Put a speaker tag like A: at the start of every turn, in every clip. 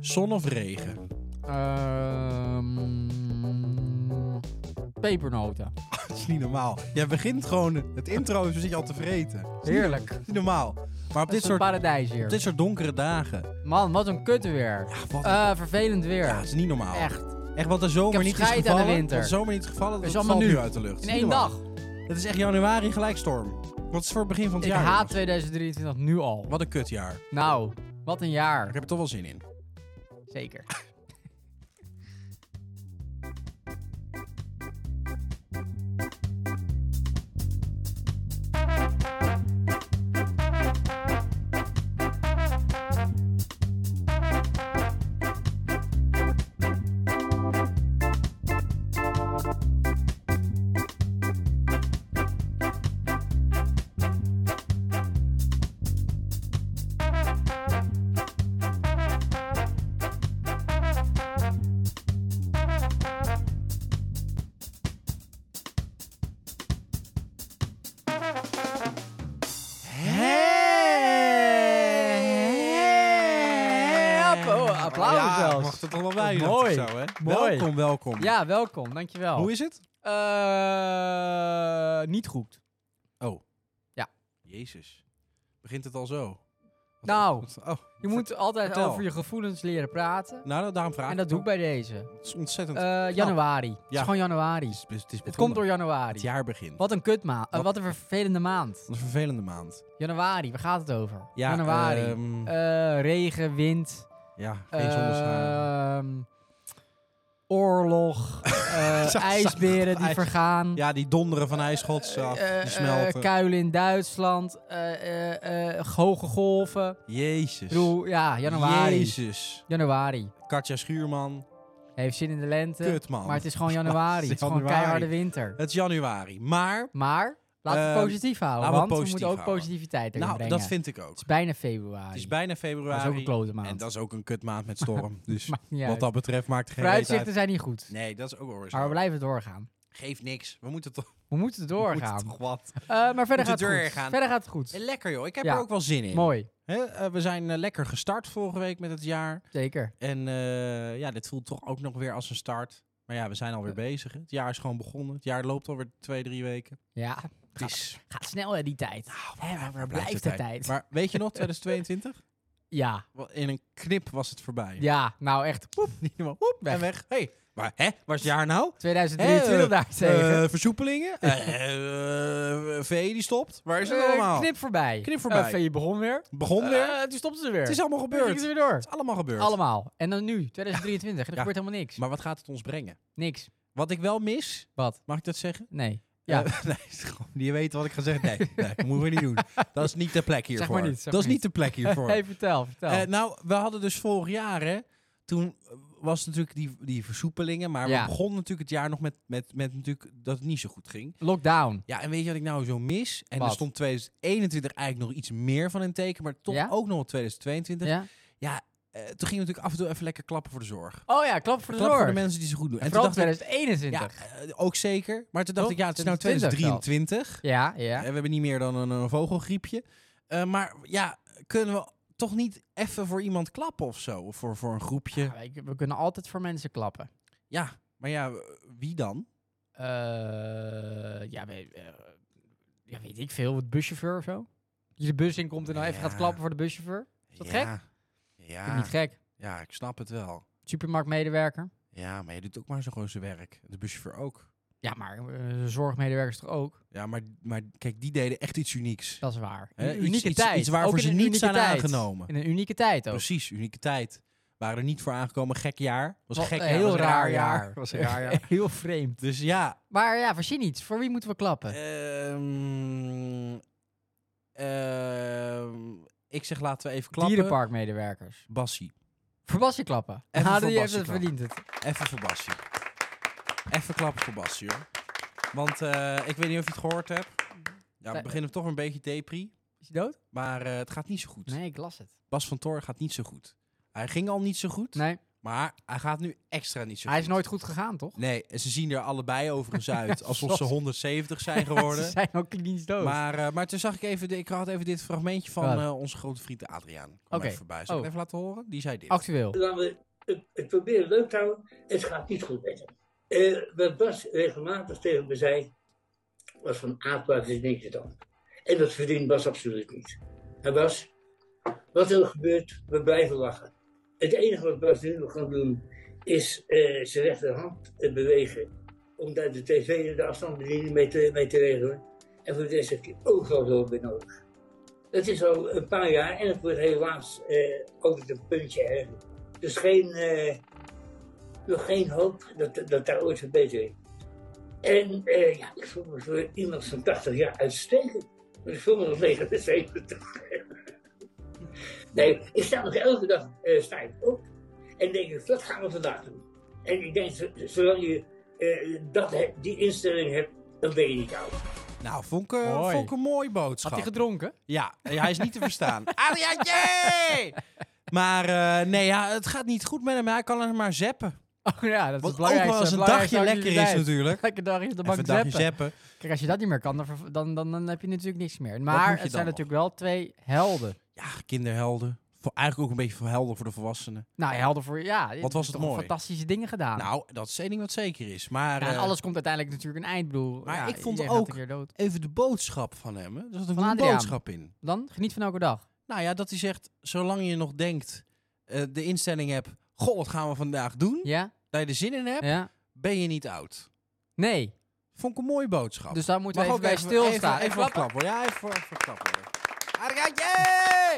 A: Zon of regen?
B: Ehm, pepernoten.
A: Dat is niet normaal. Jij begint gewoon het intro en zo zit je al te vreten. Dat
B: Heerlijk.
A: is niet normaal. Maar op dit
B: Dit is een
A: soort,
B: paradijs
A: op
B: hier.
A: dit soort donkere dagen.
B: Man, wat een kut weer.
A: Ja, wat,
B: Eh, vervelend weer.
A: ja, dat is niet normaal.
B: Echt.
A: Echt, wat de zomer
B: heb
A: niet is
B: scheid aan de
A: gevallen.
B: winter.
A: Wat de zomer niet is gevallen, dat
B: Is
A: is
B: allemaal
A: allemaal
B: nu.
A: nu uit de lucht.
B: In
A: Niet
B: één
A: normaal.
B: dag.
A: Het is echt januari gelijkstorm. Wat is voor het begin van het
B: Ik
A: jaar.
B: haat
A: jongens.
B: 2023 nu al.
A: Wat een kutjaar. Ik
B: Nou, wat een jaar.
A: heb er toch wel zin in.
B: Zeker. Hey, oh, applaus
A: ja,
B: zelfs.
A: mag er toch wel bij.
B: Mooi,
A: dacht ik Zo, hè?
B: mooi.
A: Welkom, welkom.
B: Ja, welkom. Dankjewel.
A: Hoe is het?
B: Eh, niet goed.
A: Oh.
B: Ja.
A: Jezus. Begint het al zo? Wat-
B: Nou.
A: wat- oh,
B: Je moet altijd
A: vertel.
B: over je gevoelens leren praten.
A: nou, dat- daarom vraag
B: En
A: ik
B: dat
A: het
B: doe
A: ook.
B: ik bij deze.
A: Het is ontzettend.
B: Eh, januari. Het is
A: Nou. Ja.
B: gewoon januari.
A: het, is, het, is
B: Het
A: begonnen.
B: komt door
A: Het
B: januari.
A: jaar begint.
B: Wat een kutmaand.
A: Wat-
B: wat een vervelende maand.
A: Wat Een vervelende maand.
B: Januari, waar gaat het over?
A: Ja,
B: januari.
A: ehm,
B: Eh, regen, wind.
A: ja, geen zonneschijn.
B: ehm, oorlog. eh,
A: Zo-
B: ijsberen die
A: ijs-
B: vergaan.
A: ja, die donderen van ijsschots af.
B: Eh,
A: die
B: eh,
A: smelten.
B: kuilen in Duitsland. eh, eh, eh, hoge golven.
A: Jezus.
B: Ik bedoel, ja, januari.
A: Jezus.
B: Januari.
A: Katja Schuurman.
B: Hij heeft zin in de lente.
A: Kut, man.
B: Maar het is gewoon januari.
A: Het is
B: het is gewoon
A: januari.
B: keiharde winter.
A: Het is januari. Maar,
B: Maar laten we het
A: Ehm,
B: positief houden.
A: laten we
B: Want
A: het
B: we
A: positief
B: moeten ook
A: houden.
B: positiviteit erin
A: nou,
B: brengen.
A: dat vind ik ook.
B: Het is bijna februari.
A: Het is bijna februari.
B: Dat is ook een klote maand.
A: En dat is ook een kutmaand met storm. dus
B: Maakt niet
A: wat
B: uit.
A: dat betreft maakt het geen reet
B: Vooruitzichten
A: uit.
B: zijn niet goed.
A: Nee, dat is ook wel weer zo.
B: maar we blijven doorgaan.
A: Geeft niks. We moeten toch
B: We
A: we
B: moeten
A: moeten
B: doorgaan.
A: toch wat.
B: Eh, maar
A: moeten
B: verder gaat het goed.
A: doorgaan.
B: Verder gaat het goed.
A: Eh, Lekker joh, ik heb
B: Ja.
A: er ook wel zin in.
B: Mooi.
A: Hè, eh, we zijn eh, lekker gestart vorige week met het jaar.
B: Zeker.
A: En eh, ja, dit voelt toch ook nog weer als een start. Maar ja, we zijn alweer bezig. hè. Het jaar is gewoon begonnen. Het jaar loopt alweer twee, drie weken. Nou,
B: Ja.
A: Het is...
B: Gaat snel hè, die tijd. Nou, Hè, waar, waar blijft de tijd?
A: Maar weet je nog, 2022?
B: Ja.
A: Wel, In een knip was het voorbij.
B: Ja. Nou echt. Poep.
A: Niemand-
B: Poep.
A: En
B: Weg.
A: weg. hey, maar hè, waar is het jaar nou?
B: 2023
A: Eh,
B: daartegen.
A: Eh, versoepelingen? Eh, eh, VE die stopt? Waar is het
B: Eh,
A: allemaal?
B: Knip voorbij.
A: Knip voorbij.
B: Eh, je begon weer.
A: Begon weer.
B: Eh, toen stopte ze weer.
A: het is allemaal
B: Toen
A: gebeurd.
B: gingen
A: Het
B: ze
A: is
B: weer door.
A: allemaal gebeurd.
B: Allemaal. En dan nu, 2023. En er
A: Ja.
B: gebeurt helemaal niks.
A: Maar wat gaat het ons brengen?
B: Niks.
A: Wat ik wel mis,
B: Wat?
A: mag ik dat zeggen?
B: Nee.
A: Eh,
B: Ja.
A: nee, is gewoon- die weten wat ik ga zeggen. Nee, nee, dat moeten we niet doen. Dat is niet de plek hiervoor.
B: maar niet, zeg
A: dat is
B: maar
A: niet de plek hiervoor.
B: hey, vertel, vertel.
A: Eh, nou, we hadden dus vorig jaar, hè, toen eh, was het natuurlijk die, die versoepelingen, maar
B: Ja.
A: we begonnen natuurlijk het jaar nog met, met, met natuurlijk dat het niet zo goed ging.
B: Lockdown.
A: Ja, en weet je wat ik nou zo mis? En
B: Wat?
A: er stond 2021 eigenlijk nog iets meer van in teken, maar toch
B: Ja?
A: ook nog wel 2022.
B: Ja?
A: Eh, toen gingen we natuurlijk af en toe even lekker klappen voor de zorg.
B: Oh ja, klap voor de
A: Klappen voor
B: zorg.
A: de mensen die ze goed doen.
B: En
A: En toen
B: Vooral
A: dacht ik,
B: 2021.
A: ja, eh, ook zeker. Maar toen dacht
B: Toch?
A: ik, ja, het is nou
B: 2020
A: 2023.
B: Ja,
A: En
B: ja.
A: we hebben niet meer dan een, eh, vogelgriepje. Eh, maar ja, kunnen we toch niet even voor iemand klappen of zo? Of voor, voor een groepje?
B: Ja, ik- We kunnen altijd voor mensen klappen.
A: Ja, maar ja, eh, wie dan?
B: Eh, ja, we- eh, ja, weet ik veel. Het buschauffeur of zo. Je de bus in komt en dan even
A: Ja. Ah.
B: gaat klappen voor de buschauffeur. Is dat gek? Vind ik
A: Ja.
B: Niet gek.
A: ja, ik snap het wel.
B: Supermarktmedewerker.
A: Ja, maar je doet ook maar zo gewoon zijn werk. De buschauffeur ook.
B: Ja, maar eh, zorgmedewerkers toch ook?
A: Ja, maar, maar kijk, die deden echt iets unieks.
B: Dat is waar.
A: Hè,
B: Een
A: iets-
B: unieke
A: iets-
B: tijd.
A: iets waarvoor
B: Ook in
A: ze
B: een
A: niet
B: unieke
A: zijn
B: tijd.
A: aangenomen.
B: In een unieke tijd ook.
A: Precies, unieke tijd. Waren er niet voor aangekomen. Gek jaar. Was
B: Wat
A: gek
B: een
A: jaar,
B: eh, heel
A: was een
B: raar jaar.
A: Was een raar jaar.
B: Heel vreemd.
A: Dus ja, Eh,
B: Maar ja, verzin iets. Voor wie moeten we klappen?
A: ehm, ehm, ik zeg laten we even klappen.
B: Dierenparkmedewerkers.
A: Bassie.
B: Voor Basje klappen.
A: Even
B: Ah,
A: voor
B: die heeft
A: Basje
B: het
A: klappen.
B: verdient het.
A: Even voor Bassie. Even klappen voor Bassie, hoor. Want eh, ik weet niet of je het gehoord hebt. Ja, we
B: Nee.
A: beginnen toch een beetje depri.
B: Is hij dood?
A: Maar eh, het gaat niet zo goed.
B: Nee, ik las het.
A: Bas van Toor gaat niet zo goed. Hij ging al niet zo goed.
B: Nee.
A: Maar hij gaat nu extra niet zo
B: Hij is
A: goed.
B: nooit goed gegaan, toch?
A: Nee, en ze zien er allebei overigens uit. Alsof
B: Zot.
A: ze 170 zijn
B: Ze
A: geworden.
B: zijn ook klinisch dood.
A: Maar, eh, maar toen zag ik even, de, ik had even dit fragmentje van
B: Ja.
A: eh, onze grote vriend Adriaan. Kwam
B: Oké.
A: even voorbij. Zal ik
B: Oh.
A: het even laten horen? Die zei dit.
B: Actueel.
C: Laten we het, het proberen leuk te houden. Het gaat niet goed met hem. Eh, wat Bas regelmatig tegen me zei, was van aardbaas is niks dan. En dat verdient Bas absoluut niet. En Bas, wat er ook gebeurt, we blijven lachen. Het enige wat Bas nu nog kan doen, is eh, zijn rechterhand eh, bewegen. Om daar de tv en de afstandsbediening mee te, mee te regelen. En voor de rest heeft hij overal hulp bij nodig. Het is al een paar jaar en het wordt helaas eh, altijd een puntje erger. Dus geen, eh, nog geen hoop dat, dat daar ooit verbetering. En eh, ja, ik voel me voor iemand van 80 jaar uitstekend. Maar ik voel me nog 79. nee, ik sta nog elke dag eh, sta ik op en denk ik, wat gaan we vandaag doen? En ik denk, z- zolang je eh, dat, he- die instelling hebt, dan ben je niet oud.
A: Nou, vond ik, eh,
B: Mooi.
A: vond ik een mooie
B: Had
A: boodschap.
B: hij gedronken?
A: Ja, eh, hij is niet te verstaan. Adriaantje! Maar eh, nee, ja, het gaat niet goed met hem. Hij kan er maar zeppen.
B: Oh ja, dat is
A: Wat
B: het
A: ook wel eens
B: belangrijkste.
A: een dagje lekker is natuurlijk.
B: Lekker dag is de
A: Even
B: bank
A: een dagje
B: zappen.
A: zeppen.
B: Kijk, als je dat niet meer kan, dan, verv- dan, dan, dan heb je natuurlijk niks meer.
A: moet je
B: Maar het
A: dan
B: zijn
A: nog?
B: natuurlijk wel twee helden.
A: Ja, kinderhelden. Voor, eigenlijk ook een beetje voor helden voor de volwassenen.
B: Nou, helden voor... Ja, je
A: was
B: hebt
A: het
B: toch
A: mooi.
B: fantastische dingen gedaan.
A: Nou, dat is één ding wat zeker is. Maar
B: Ja, en
A: eh,
B: alles komt uiteindelijk natuurlijk een eind. Ik bedoel,
A: Maar
B: ja,
A: ik vond
B: iedereen gaat
A: ook-
B: een keer dood.
A: even de boodschap van hem. hè. Er zat ook
B: Van
A: een
B: Adriaan.
A: boodschap in.
B: Dan geniet van elke dag.
A: Nou ja, dat hij zegt, zolang je nog denkt, eh, de instelling hebt... Goh, wat gaan we vandaag doen?
B: Ja?
A: Dat je er zin in hebt,
B: Ja?
A: ben je niet oud.
B: Nee.
A: Vond ik een mooie boodschap.
B: Dus daar moeten
A: Oh, Mag
B: we even
A: ook
B: bij
A: even-
B: stilstaan.
A: Even, even,
B: Even-
A: wat klappen. Ja, even, voor- even klappen.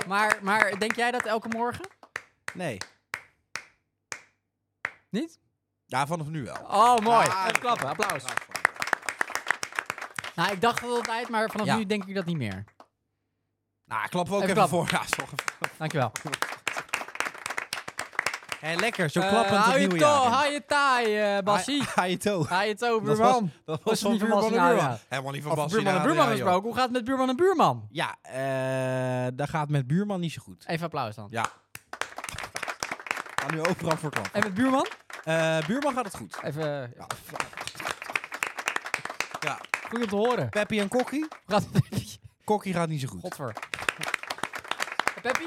B: Maar, maar denk jij dat elke morgen?
A: Nee.
B: Niet?
A: Ja, vanaf nu wel.
B: Oh, mooi.
A: Ah,
B: Even klappen, applaus. Nou, ik dacht wel altijd, maar vanaf
A: Ja.
B: nu denk ik dat niet meer.
A: Nou, klappen we ook even,
B: Even klappen.
A: voor. Ja, zo even-
B: Dankjewel.
A: Hé, lekker. Zo klappen
B: Eh,
A: het
B: hou je
A: nieuwe
B: to-
A: jaar in.
B: Hou je taai, eh, Bassie.
A: Ha- ha- je toe.
B: Hou je to,
A: Dat was,
B: buurman.
A: dat
B: Was
A: was van
B: niet van
A: buurman en
B: Bas en Adriaan.
A: buurman. Helemaal niet van
B: Of
A: Bas
B: buurman en
A: en
B: buurman
A: Adriaan, joh.
B: gesproken. Hoe gaat het met buurman en buurman?
A: Ja, eh daar gaat met buurman niet zo goed.
B: Even applaus dan.
A: Ja. Ga nu overal voor klappen.
B: En met buurman?
A: Eh, buurman gaat het goed.
B: Even
A: Ja. Ja.
B: goed om te horen.
A: Peppy en Kokkie?
B: Hoe gaat het met Peppy?
A: Kokkie gaat niet zo goed.
B: Godver. Eh, Peppy?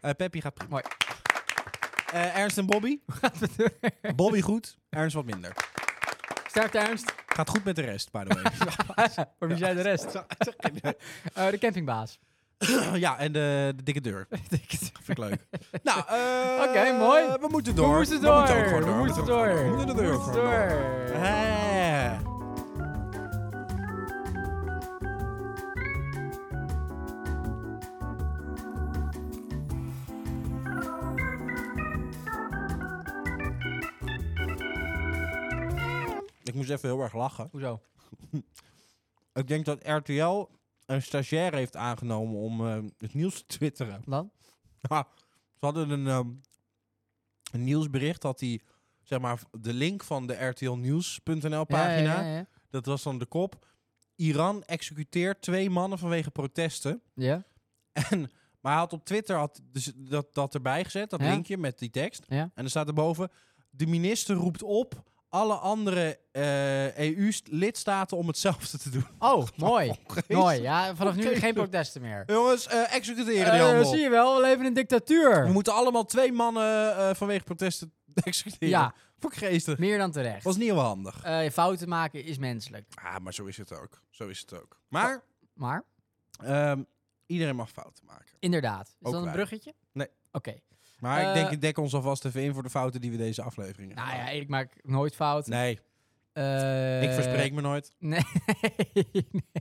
A: Eh Peppy gaat prima.
B: Mooi.
A: Eh, Ernst en Bobby?
B: Hoe gaat het met
A: Bobby goed, Ernst wat minder.
B: Sterkte Ernst.
A: Gaat goed met de rest, by the way.
B: Voor wie zijn de rest? Eh, de campingbaas.
A: ja, en de, de dikke deur. Vind ik leuk. nou, eh,
B: Oké, mooi.
A: We moeten door.
B: We moeten door.
A: ook gewoon
B: We moeten
A: ook
B: door.
A: gewoon We moeten de deur
B: We
A: gewoon
B: moeten
A: door.
B: door.
A: Hè. Ik moest even heel erg lachen.
B: Hoezo?
A: Ik denk dat RTL een stagiair heeft aangenomen om eh, het nieuws te twitteren.
B: Dan?
A: Ja, ze hadden een, ehm, een nieuwsbericht dat die, zeg maar, de link van de rtlnieuws.nl pagina,
B: Ja, ja, ja, ja.
A: dat was dan de kop. Iran executeert twee mannen vanwege protesten.
B: Ja.
A: En, maar hij had op Twitter had dus dat, dat erbij gezet, dat
B: Ja.
A: linkje met die tekst.
B: Ja.
A: En er staat erboven, de minister roept op alle andere EU-lidstaten om hetzelfde te doen.
B: Oh, mooi. Mooi.
A: Jezus.
B: Ja, vanaf nu
A: Jezus.
B: geen protesten meer.
A: Jongens, eh, executeren die
B: Eh,
A: allemaal.
B: zie je wel, we leven in een dictatuur.
A: We moeten allemaal twee mannen eh, vanwege protesten executeren.
B: Ja.
A: Voor geesten.
B: Meer dan terecht.
A: Was niet heel handig.
B: Eh, fouten maken is menselijk.
A: Ah, maar zo is het ook. Zo is het ook. Maar
B: Maar,
A: ehm, iedereen mag fouten maken.
B: inderdaad. Is
A: Ook
B: dat een
A: wij.
B: bruggetje?
A: Nee.
B: Oké.
A: Maar ik
B: Eh,
A: denk, ik dek ons alvast even in voor de fouten die we deze aflevering
B: Nou
A: gaan
B: ja,
A: maken.
B: ik maak nooit fout.
A: Nee,
B: Eh,
A: ik verspreek me nooit.
B: Nee.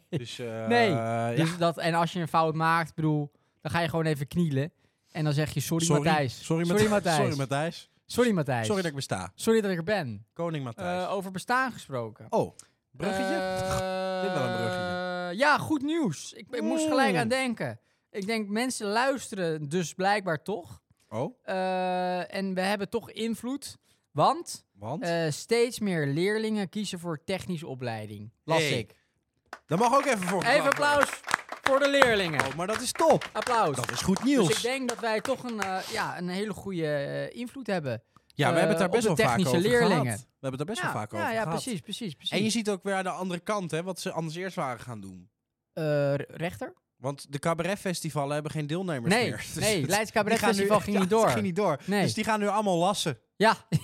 A: Dus, eh,
B: Nee,
A: ja.
B: dus dat, en als je een fout maakt, bedoel, dan ga je gewoon even knielen. En dan zeg je sorry, Matthijs.
A: Sorry,
B: sorry
A: Matthijs.
B: Matthijs.
A: Sorry, Matthijs.
B: Sorry, Matthijs.
A: Sorry dat ik besta.
B: Sorry dat ik er ben.
A: Koning Matthijs.
B: Eh, over bestaan gesproken.
A: oh, bruggetje?
B: Eh,
A: Dit wel een bruggetje.
B: Ja, goed nieuws. Ik, ik moest gelijk
A: Mm.
B: aan denken. Ik denk, mensen luisteren dus blijkbaar toch.
A: Oh,
B: Eh, en we hebben toch invloed. Want
A: want?
B: eh, steeds meer leerlingen kiezen voor technische opleiding. Las
A: Hey,
B: ik.
A: Daar mag ook even voor
B: Even
A: geklapt worden.
B: applaus. voor de leerlingen.
A: Oh, maar dat is top.
B: Applaus.
A: Dat is goed
B: dus
A: nieuws.
B: ik denk dat wij toch een, eh, ja, een hele goede eh, invloed hebben.
A: ja, we hebben het
B: eh,
A: daar
B: op
A: best
B: de
A: wel vaak
B: technische
A: over
B: leerlingen.
A: gehad. We hebben het daar best
B: ja,
A: wel vaak
B: ja,
A: over
B: Ja,
A: gehad.
B: precies, precies, precies.
A: En je ziet ook weer aan de andere kant hè, wat ze anders eerst waren gaan doen.
B: Eh, re- rechter?
A: Want de cabaretfestivalen hebben geen deelnemers
B: Nee,
A: meer. Dus
B: nee,
A: het-
B: Leids
A: die
B: Cabaret
A: gaan nu-
B: Festival ging
A: ja,
B: niet
A: het
B: door.
A: ging niet door.
B: Nee.
A: Dus die gaan nu allemaal lassen.
B: Ja,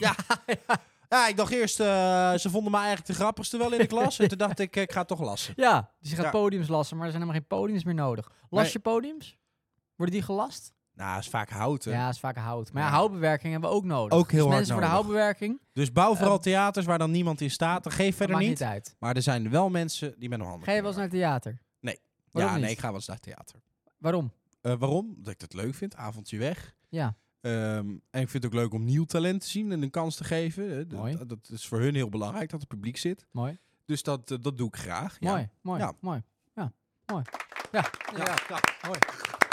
A: Ja, ik dacht eerst, eh, ze vonden me eigenlijk de grappigste wel in de klas. en toen dacht ik, eh, ik ga toch lassen.
B: ja. Dus je gaat
A: Ja.
B: podiums lassen, maar er zijn helemaal geen podiums meer nodig. Las
A: Nee.
B: je podiums? Worden die gelast?
A: Nou, is vaak houten.
B: Ja, is vaak hout. Maar ja,
A: Ja.
B: houtbewerking hebben we ook nodig.
A: Ook heel
B: dus
A: hard
B: mensen voor de
A: nodig.
B: houtbewerking,
A: Dus bouw vooral
B: Eh,
A: theaters waar dan niemand in staat. Dat geeft verder
B: maakt
A: niet.
B: niet uit.
A: Maar er zijn wel mensen die met hun handen
B: Ga je wel eens
A: kunnen
B: naar het theater?
A: Nee.
B: Waarom
A: werken. Ja,
B: niet?
A: nee, ik ga wel eens naar het theater.
B: Waarom?
A: Eh, waarom? Omdat ik het leuk vind. Avondje weg.
B: Ja.
A: Ehm, en ik vind het ook leuk om nieuw talent te zien en een kans te geven. Eh, dat-
B: Mooi.
A: Dat, is voor hun heel belangrijk, dat het publiek zit.
B: Mooi.
A: Dus dat, eh, dat doe ik graag. Ja.
B: Mooi, mooi,
A: Ja.
B: mooi. Ja, mooi. Ja,
A: Ja,
B: inderdaad.
A: ja.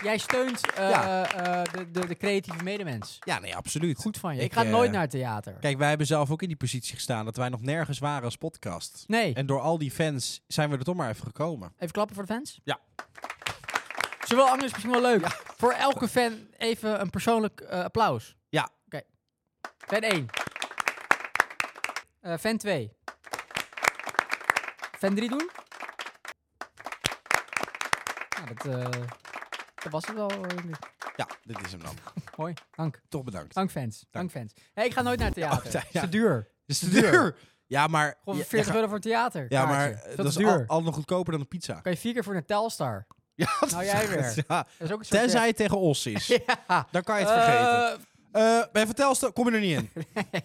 B: Jij steunt eh,
A: Ja.
B: eh, de, de, de creatieve medemens.
A: Ja, nee, absoluut.
B: Goed van je. Ik,
A: Ik,
B: ga
A: eh,
B: nooit naar het theater.
A: Kijk, wij hebben zelf ook in die positie gestaan dat wij nog nergens waren als podcast.
B: Nee.
A: En door al die fans zijn we er toch maar even gekomen.
B: Even klappen voor de fans?
A: Ja.
B: Zowel anders misschien wel leuk. Voor elke fan even een persoonlijk eh, applaus.
A: Ja.
B: Oké. Fan 1. Eh, fan 2. Fan 3 doen? Nou, dat, eh, dat was het al.
A: Ja, dit is hem dan.
B: Mooi. Dank.
A: Toch bedankt.
B: Dank fans. Dank fans. Hey, ik ga nooit naar het theater.
A: ja, ja.
B: Is te duur.
A: Is
B: te
A: te
B: duur.
A: duur. Ja, maar...
B: Gewoon
A: Ja,
B: 40
A: ja,
B: euro voor het theater.
A: Ja, maar
B: kaartje.
A: eh,
B: Veel
A: dat
B: te
A: is
B: duur.
A: al, al nog goedkoper dan een pizza.
B: Kan je vier keer voor een Telstar.
A: Ja, dat
B: Nou,
A: is-
B: jij weer.
A: Ja,
B: Dat is ook een soort
A: tenzij het tegen os is.
B: Ja.
A: Dan kan je het vergeten.
B: Eh,
A: Eh bij Vertelstra kom je er niet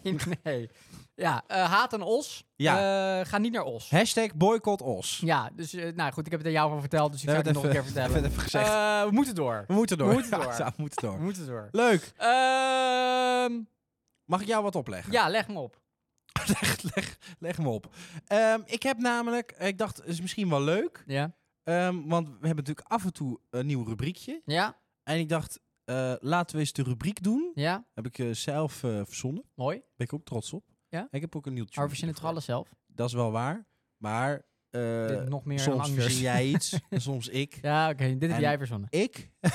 A: in.
B: Nee, nee. Ja, eh, haat en os. Ja. ga niet naar os.
A: Hashtag boycott os.
B: Ja, dus eh, nou goed, ik heb het aan jou al verteld, dus ik
A: We
B: ga het
A: hebben
B: nog een keer
A: het even-
B: vertellen.
A: we hebben het even gezegd.
B: Eh, we moeten door.
A: We moeten door.
B: We moeten door.
A: Ja, we moeten
B: We
A: door.
B: moeten door.
A: Leuk.
B: Ehm,
A: Mag ik jou wat opleggen?
B: ja, leg me op.
A: leg, leg, leg me op. Ehm, ik heb namelijk... eh, Ik dacht, het is misschien wel leuk.
B: Ja.
A: Ehm, want we hebben natuurlijk af en toe een nieuw rubriekje.
B: Ja,
A: En ik dacht, eh, laten we eens de rubriek doen.
B: ja.
A: Heb ik eh, zelf eh, verzonnen.
B: Mooi.
A: Ben ik ook trots op.
B: Ja?
A: En ik heb ook een nieuw tune.
B: Maar we zien het toch alles zelf?
A: Dat is wel waar. Maar eh,
B: Dit nog meer
A: soms
B: dan
A: verzin jij iets. en soms ik.
B: Ja, oké. dit heb
A: En-
B: jij verzonnen.
A: Ik? dat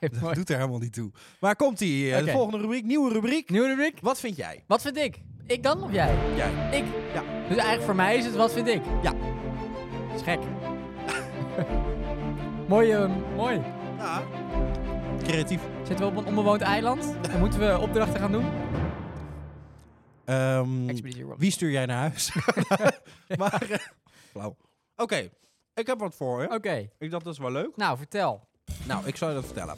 B: Oké, mooi.
A: doet er helemaal niet toe. Maar komt ie. eh,
B: Oké.
A: De volgende rubriek. Nieuwe rubriek.
B: Nieuwe rubriek.
A: Wat vind jij?
B: Wat vind ik? Ik dan of jij?
A: Jij.
B: Ik.
A: Ja.
B: Dus eigenlijk voor mij is het wat vind ik.
A: Ja.
B: Dat is gek. mooi, ehm, mooi.
A: Ja. Ah. Creatief.
B: Zitten we op een onbewoond eiland? Dan moeten we opdrachten gaan doen.
A: Ehm,
B: Expeditie Robinson.
A: wie stuur jij naar huis? maar, eh, flauw. Oké. Ik heb wat voor je.
B: Oké,
A: Ik dacht, dat is wel leuk.
B: nou vertel.
A: Nou, ik zal je dat vertellen.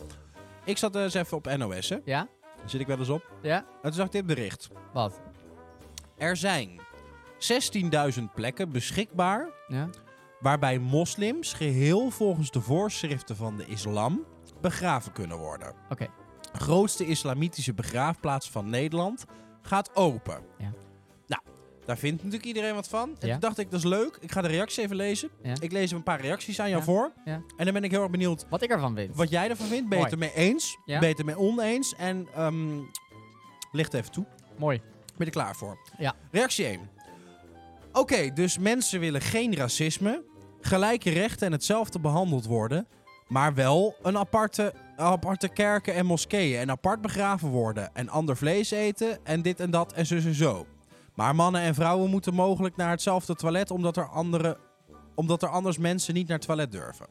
A: Ik zat eh, eens even op NOS, hè.
B: Ja?
A: Daar zit ik wel eens op.
B: Ja?
A: En toen zag ik dit bericht.
B: Wat?
A: Er zijn 16.000 plekken beschikbaar
B: Ja?
A: waarbij moslims geheel volgens de voorschriften van de islam begraven kunnen worden.
B: Oké.
A: Grootste islamitische begraafplaats van Nederland gaat open.
B: Ja.
A: Nou, daar vindt natuurlijk iedereen wat van. En
B: Ja.
A: toen dacht ik, dat is leuk. Ik ga de reactie even lezen.
B: Ja.
A: Ik lees even een paar reacties aan jou
B: Ja.
A: voor.
B: Ja.
A: En dan ben ik heel erg benieuwd
B: Wat ik ervan vind.
A: wat jij ervan vindt. Ben je
B: Mooi.
A: het ermee eens?
B: Ja.
A: Ben je het ermee oneens? En ehm licht even toe.
B: Mooi.
A: Ben je er klaar voor?
B: Ja.
A: Reactie 1. Oké, dus mensen willen geen racisme, gelijke rechten en hetzelfde behandeld worden, maar wel een aparte, aparte kerken en moskeeën en apart begraven worden en ander vlees eten en dit en dat en zus en zo. Maar mannen en vrouwen moeten mogelijk naar hetzelfde toilet omdat er, andere, omdat er anders mensen niet naar het toilet durven.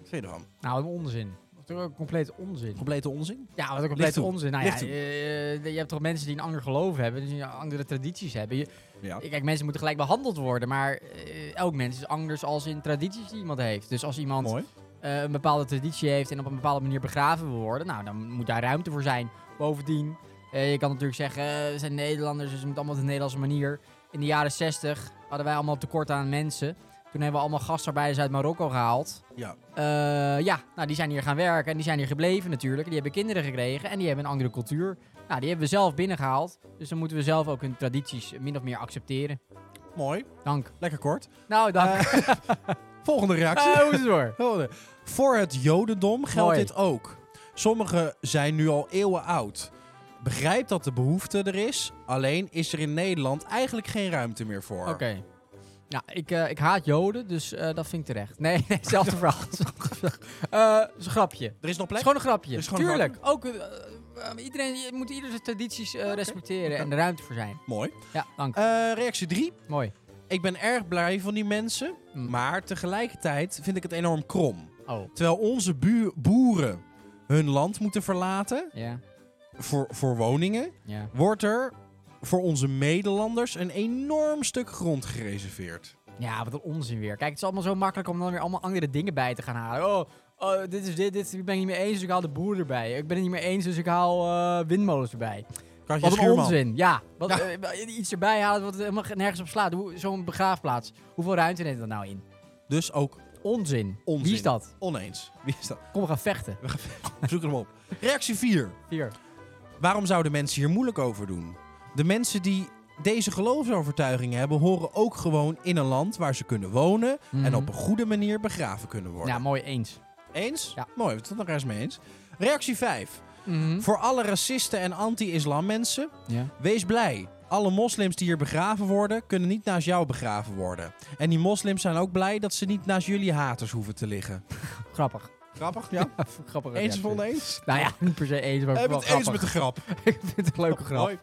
A: Wat vind je ervan?
B: Nou, een onzin. Dat is toch ook compleet onzin.
A: Complete onzin?
B: Ja, wat ook compleet
A: toe.
B: onzin. Nou ja,
A: Licht toe.
B: eh, je hebt toch mensen die een ander geloof hebben, die andere tradities hebben. Je,
A: Ja.
B: kijk, mensen moeten gelijk behandeld worden, maar eh, elk mens is anders als in tradities die iemand heeft. Dus als iemand
A: Mooi.
B: eh, een bepaalde traditie heeft en op een bepaalde manier begraven wil worden, nou, dan moet daar ruimte voor zijn. Bovendien, eh, je kan natuurlijk zeggen, eh, we zijn Nederlanders, dus het moet allemaal op de Nederlandse manier. In de jaren 60 hadden wij allemaal tekort aan mensen. Toen hebben we allemaal gastarbeiders uit Marokko gehaald.
A: Ja.
B: Eh, ja, nou, die zijn hier gaan werken en die zijn hier gebleven natuurlijk. En die hebben kinderen gekregen en die hebben een andere cultuur. Nou, die hebben we zelf binnengehaald. Dus dan moeten we zelf ook hun tradities min of meer accepteren.
A: Mooi.
B: Dank.
A: Lekker kort.
B: Nou, dank.
A: Eh, volgende reactie.
B: Eh, hoe is het door?
A: Helder. Oh, Voor het Jodendom geldt
B: Mooi.
A: dit ook. Sommige zijn nu al eeuwen oud. Begrijp dat de behoefte er is, alleen is er in Nederland eigenlijk geen ruimte meer voor.
B: Oké. Ja, ik, eh, ik haat Joden, dus eh, dat vind ik terecht. Nee, nee, hetzelfde verhaal. Eh, Het is een grapje.
A: Er is nog
B: Het
A: plek.
B: is gewoon een grapje.
A: Het is gewoon een
B: Tuurlijk. Ook, eh, eh, iedereen je moet ieder zijn tradities eh, respecteren en er ruimte voor zijn.
A: Mooi.
B: Ja, dank.
A: Eh, reactie 3.
B: Mooi.
A: Ik ben erg blij van die mensen,
B: Mm.
A: maar tegelijkertijd vind ik het enorm krom.
B: Oh,
A: Terwijl onze bu- boeren hun land moeten verlaten
B: ja.
A: voor, voor woningen,
B: Ja.
A: wordt er voor onze Nederlanders een enorm stuk grond gereserveerd.
B: Ja, wat een onzin weer. Kijk, het is allemaal zo makkelijk om dan weer allemaal andere dingen bij te gaan halen. Oh, oh, dit is dit, dit ben ik niet mee eens, dus ik haal de boer erbij. Ik ben het niet mee eens, dus ik haal eh, windmolens erbij.
A: Katja
B: Wat een
A: Schuurman.
B: onzin. Ja, wat,
A: Ja.
B: eh, iets erbij halen wat helemaal ge- nergens op slaat. Hoe- Zo'n begraafplaats. Hoeveel ruimte neemt dat nou in?
A: Dus ook
B: Onzin.
A: Onzin.
B: Wie is dat?
A: oneens. Wie is dat?
B: Kom, we gaan vechten.
A: We zoeken hem op. Reactie 4.
B: Vier.
A: Waarom zouden mensen hier moeilijk over doen? De mensen die deze geloofsovertuigingen hebben, horen ook gewoon in een land waar ze kunnen wonen en op een goede manier begraven kunnen worden.
B: Mhm. Ja, Nou, mooi eens.
A: Eens?
B: Ja. Mhm.
A: Mooi, we zijn het nog eens mee eens. Reactie 5. Voor alle racisten en anti-islam mensen,
B: Ja.
A: wees blij. Alle moslims die hier begraven worden, kunnen niet naast jou begraven worden. En die moslims zijn ook blij dat ze niet naast jullie haters hoeven te liggen.
B: Grappig.
A: Grappig, ja?
B: Grappig.
A: Eens
B: ja,
A: of oneens?
B: Nou ja, niet per se eens, maar
A: We
B: wel
A: hebben het
B: grappig.
A: eens met de grap.
B: Ik vind het een leuke grap.
A: Mooi.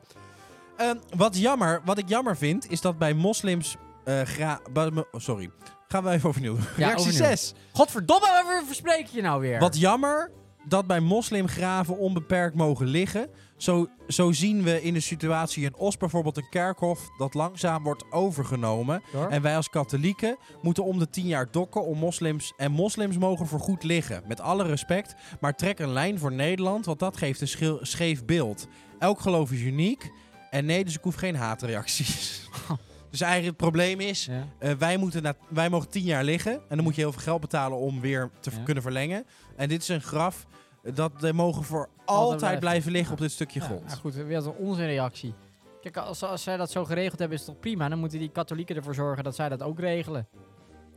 A: Ehm, wat, jammer, wat ik jammer vind, is dat bij moslims... eh, gra- bij me- oh, sorry, gaan we even overnieuw doen.
B: Ja,
A: Reactie
B: overnieuw.
A: 6.
B: Godverdomme, waar verspreek je nou weer?
A: Wat jammer dat bij moslimgraven onbeperkt mogen liggen. Zo, zo zien we in de situatie in Os bijvoorbeeld een kerkhof dat langzaam wordt overgenomen.
B: Door?
A: En wij als katholieken moeten om de tien jaar dokken om moslims. En moslims mogen voorgoed liggen. Met alle respect, maar trek een lijn voor Nederland, want dat geeft een schil- scheef beeld. Elk geloof is uniek. En nee, dus ik hoef geen haatreacties. Dus eigenlijk het probleem is,
B: Ja.
A: eh, wij, moeten na, wij mogen tien jaar liggen. En dan moet je heel veel geld betalen om weer te v-
B: Ja.
A: kunnen verlengen. En dit is een graf. eh, Dat we mogen voor altijd,
B: blijven.
A: blijven, liggen op dit stukje
B: Ja,
A: grond.
B: nou goed, weer als een onzinreactie. Kijk, als, als zij dat zo geregeld hebben, is het toch prima. Dan moeten die katholieken ervoor zorgen dat zij dat ook regelen.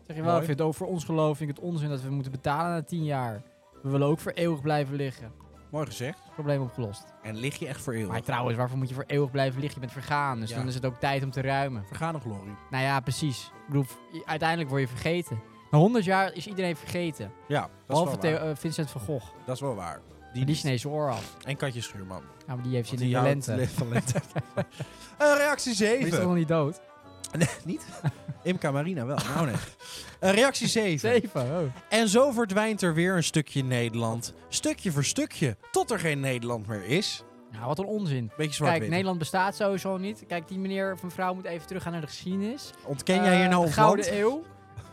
B: Zeg je wel,
A: Mooi.
B: ik vind het ook voor ons geloof vind ik het onzin dat we moeten betalen na tien jaar. We willen ook voor eeuwig blijven liggen.
A: Mooi gezegd.
B: Probleem opgelost.
A: En lig je echt voor
B: Maar
A: eeuwig.
B: trouwens, waarvoor moet je voor eeuwig blijven liggen? Je bent vergaan, dus
A: Ja.
B: dan is het ook tijd om te ruimen.
A: Vergaan nog, Glorie.
B: Nou ja, precies. Ik bedoel, i- uiteindelijk word je vergeten. Na 100 jaar is iedereen vergeten.
A: Ja, dat is,
B: Behalve
A: wel
B: Theo-
A: waar.
B: eh, Vincent van Gogh.
A: dat is wel waar.
B: Die, die sneed zijn oor af.
A: En Katje Schuurman. Want
B: Nou, maar die heeft zin in
A: die
B: de
A: houdt
B: lente.
A: le- van lente. Eh, reactie
B: Maar Die is toch
A: 7.
B: nog niet dood?
A: Nee, niet? Imca Marina wel. Nou nee. Eh, reactie 7.
B: Zeven, oh.
A: En zo verdwijnt er weer een stukje Nederland. Stukje voor stukje. Tot er geen Nederland meer is.
B: Nou, wat een onzin.
A: Beetje zwart
B: Kijk,
A: wit.
B: Nederland bestaat sowieso niet. Kijk, die meneer of mevrouw moet even teruggaan naar de geschiedenis.
A: Ontken jij hier
B: Eh,
A: nou
B: de
A: ons
B: Gouden
A: land?
B: Eeuw.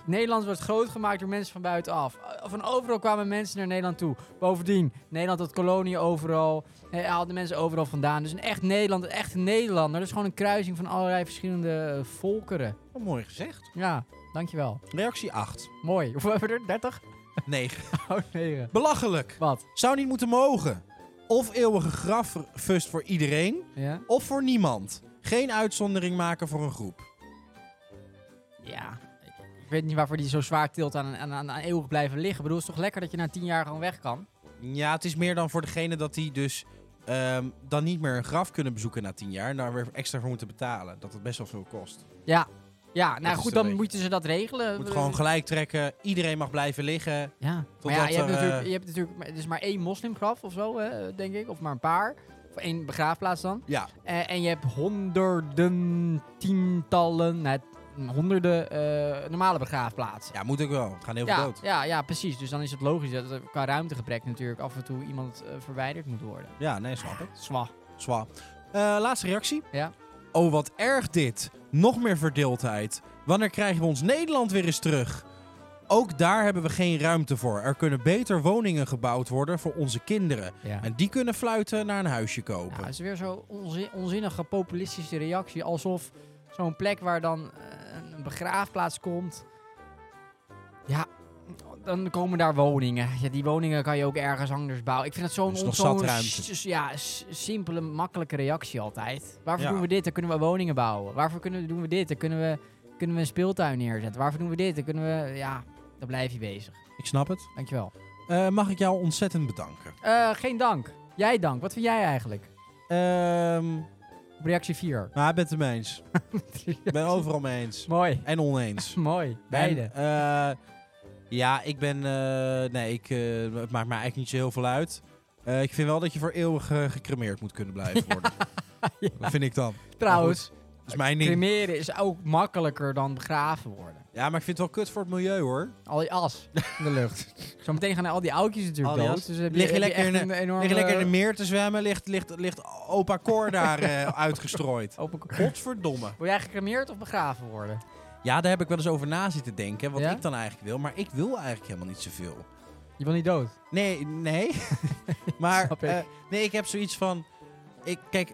B: Nederland wordt groot gemaakt door mensen van buitenaf. Eh, Van overal kwamen mensen naar Nederland toe. Bovendien, Nederland had koloniën overal. Eh, haalde mensen overal vandaan. Dus een echt Nederland, een echte Nederlander. Dat is gewoon een kruising van allerlei verschillende eh, volkeren.
A: Oh, mooi gezegd.
B: Ja, dankjewel.
A: Reactie 8.
B: Mooi. Hoeveel hebben we er? 30?
A: 9.
B: Oh, negen.
A: Belachelijk.
B: Wat?
A: Zou niet moeten mogen. Of eeuwige graffust voor iedereen.
B: Ja?
A: Of voor niemand. Geen uitzondering maken voor een groep.
B: Ja. Ik weet niet waarvoor die zo zwaar tilt aan, aan, aan, aan eeuwig blijven liggen. Ik bedoel, het is toch lekker dat je na tien jaar gewoon weg kan?
A: Ja, het is meer dan voor degene dat die dus ehm, dan niet meer een graf kunnen bezoeken na 10 jaar. En daar weer extra voor moeten betalen. Dat het best wel veel kost.
B: Ja, ja
A: Dat
B: nou
A: is
B: goed,
A: een
B: dan
A: beetje.
B: moeten ze dat regelen. Eh,
A: Je moet gewoon gelijk trekken. Iedereen mag blijven liggen.
B: Ja, maar
A: Totdat
B: ja, je hebt,
A: er,
B: natuurlijk,
A: eh,
B: je hebt natuurlijk, maar het is maar één moslimgraf of zo, hè, denk ik. Of maar een paar. Of één begraafplaats dan.
A: Ja.
B: Eh, en je hebt honderden, tientallen, nou, honderden eh, normale begraafplaatsen.
A: Ja, moet ook wel. Het gaan heel veel
B: ja,
A: dood.
B: ja, ja, precies. Dus dan is het logisch dat er qua ruimtegebrek natuurlijk af en toe iemand eh, verwijderd moet worden.
A: Ja, nee, snap ik.
B: Zwa.
A: Zwa. Eh, laatste reactie.
B: Ja.
A: Oh, wat erg dit. Nog meer verdeeldheid. Wanneer krijgen we ons Nederland weer eens terug? Ook daar hebben we geen ruimte voor. Er kunnen beter woningen gebouwd worden voor onze kinderen.
B: Ja.
A: En die kunnen fluiten naar een huisje kopen.
B: Ja, het Nou, is weer zo'n onzi- onzinnige populistische reactie. Alsof zo'n plek waar dan eh, een begraafplaats komt. Ja, dan komen daar woningen. Ja, die woningen kan je ook ergens anders bouwen. Ik vind het zo'n
A: Er is nog
B: zo'n
A: zat ruimte.
B: s- s- ja, s- simpele, makkelijke reactie altijd. Waarvoor
A: Ja.
B: doen we dit? Dan kunnen we woningen bouwen. Waarvoor kunnen, we- doen we dit? Dan kunnen we, kunnen we een speeltuin neerzetten. Waarvoor doen we dit? Dan kunnen we... Ja, dan blijf je bezig.
A: Ik snap het.
B: Dankjewel.
A: Eh, mag ik jou ontzettend bedanken?
B: Eh geen dank. Jij dank. Wat vind jij eigenlijk?
A: Ehm,
B: Op reactie 4.
A: Maar ik ben het ermee eens. Ik ben overal mee eens.
B: Mooi.
A: En oneens.
B: Mooi. Beide.
A: En, eh, ja, ik ben... eh, nee, ik, eh, het maakt me eigenlijk niet zo heel veel uit. Eh, ik vind wel dat je voor eeuwig eh, gecremeerd moet kunnen blijven worden. Dat vind ik dan.
B: Trouwens,
A: Dat is mijn ding.
B: cremeren is ook makkelijker dan begraven worden.
A: Ja, maar ik vind het wel kut voor het milieu, hoor.
B: Al die as in de lucht. Zometeen gaan al die oudjes natuurlijk
A: Al die as.
B: dood. Dus heb je,
A: Lig je
B: heb
A: lekker
B: echt
A: in
B: een enorme...
A: Lig je lekker in de meer te zwemmen, ligt, ligt, ligt opa Cor daar eh, uitgestrooid.
B: Open kop.
A: Godverdomme.
B: Wil jij gecremeerd of begraven worden?
A: Ja, daar heb ik wel eens over na zitten denken, wat
B: Ja?
A: ik dan eigenlijk wil. Maar ik wil eigenlijk helemaal niet zoveel.
B: Je wil niet dood.
A: Nee, nee. maar
B: Snap ik.
A: eh, nee, ik heb zoiets van... Ik, kijk,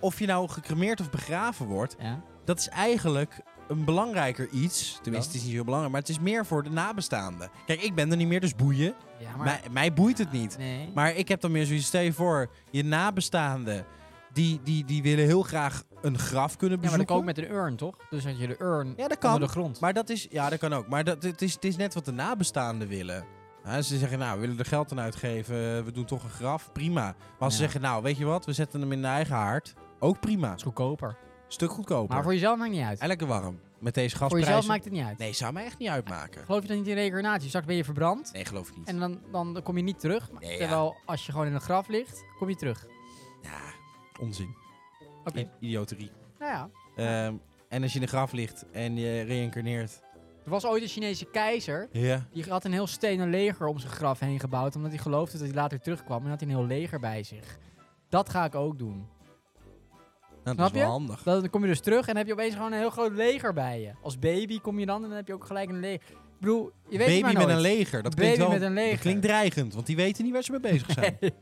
A: of je nou gecremeerd of begraven wordt,
B: Ja.
A: dat is eigenlijk een belangrijker iets. Tenminste, het
B: Ja.
A: is niet zo belangrijk, maar het is meer voor de nabestaanden. Kijk, ik ben er niet meer, dus boeien.
B: Ja,
A: Mij, mij boeit het niet.
B: Nee.
A: Maar ik heb dan meer zoiets, stel je voor, je nabestaanden, die, die, die willen heel graag een graf kunnen
B: ja,
A: bezoeken.
B: maar dat kan ook met een urn, toch? Dus dat je de urn
A: Ja, dat
B: onder
A: kan.
B: de grond.
A: Maar dat is, ja, dat kan ook. Maar dat, het, is, het is net wat de nabestaanden willen. Ja, ze zeggen, nou, we willen er geld aan uitgeven, we doen toch een graf, prima. Maar als ze
B: Ja.
A: zeggen, nou, weet je wat, we zetten hem in de eigen haard, ook prima.
B: Dat is goedkoper.
A: Stuk goedkoper.
B: Maar voor jezelf maakt het niet uit.
A: En lekker warm. Met deze
B: Voor
A: gasprijzen.
B: jezelf maakt het niet uit.
A: Nee, zou mij echt niet uitmaken.
B: Geloof je dan niet in reïncarnatie? Straks ben je verbrand
A: Nee, geloof ik niet.
B: en dan, dan kom je niet terug. Maar
A: Nee, ja.
B: terwijl als je gewoon in een graf ligt, kom je terug.
A: Ja, onzin.
B: Oké.
A: Idioterie.
B: Nou ja.
A: Ehm, en als je in een graf ligt en je reïncarneert.
B: Er was ooit een Chinese keizer.
A: Ja.
B: Die had een heel stenen leger om zijn graf heen gebouwd. Omdat hij geloofde dat hij later terugkwam. En had hij een heel leger bij zich. Dat ga ik ook doen.
A: Nou, dat
B: Snap
A: is wel
B: je?
A: handig.
B: Dan dan kom je dus terug en heb je opeens gewoon een heel groot leger bij je. Als baby kom je dan en dan heb je ook gelijk een leger. Ik bedoel, je weet
A: Baby
B: het maar
A: met
B: nooit.
A: een leger. Dat
B: Baby
A: klinkt wel,
B: met een leger.
A: Dat klinkt dreigend, want die weten niet waar ze mee bezig zijn. Ze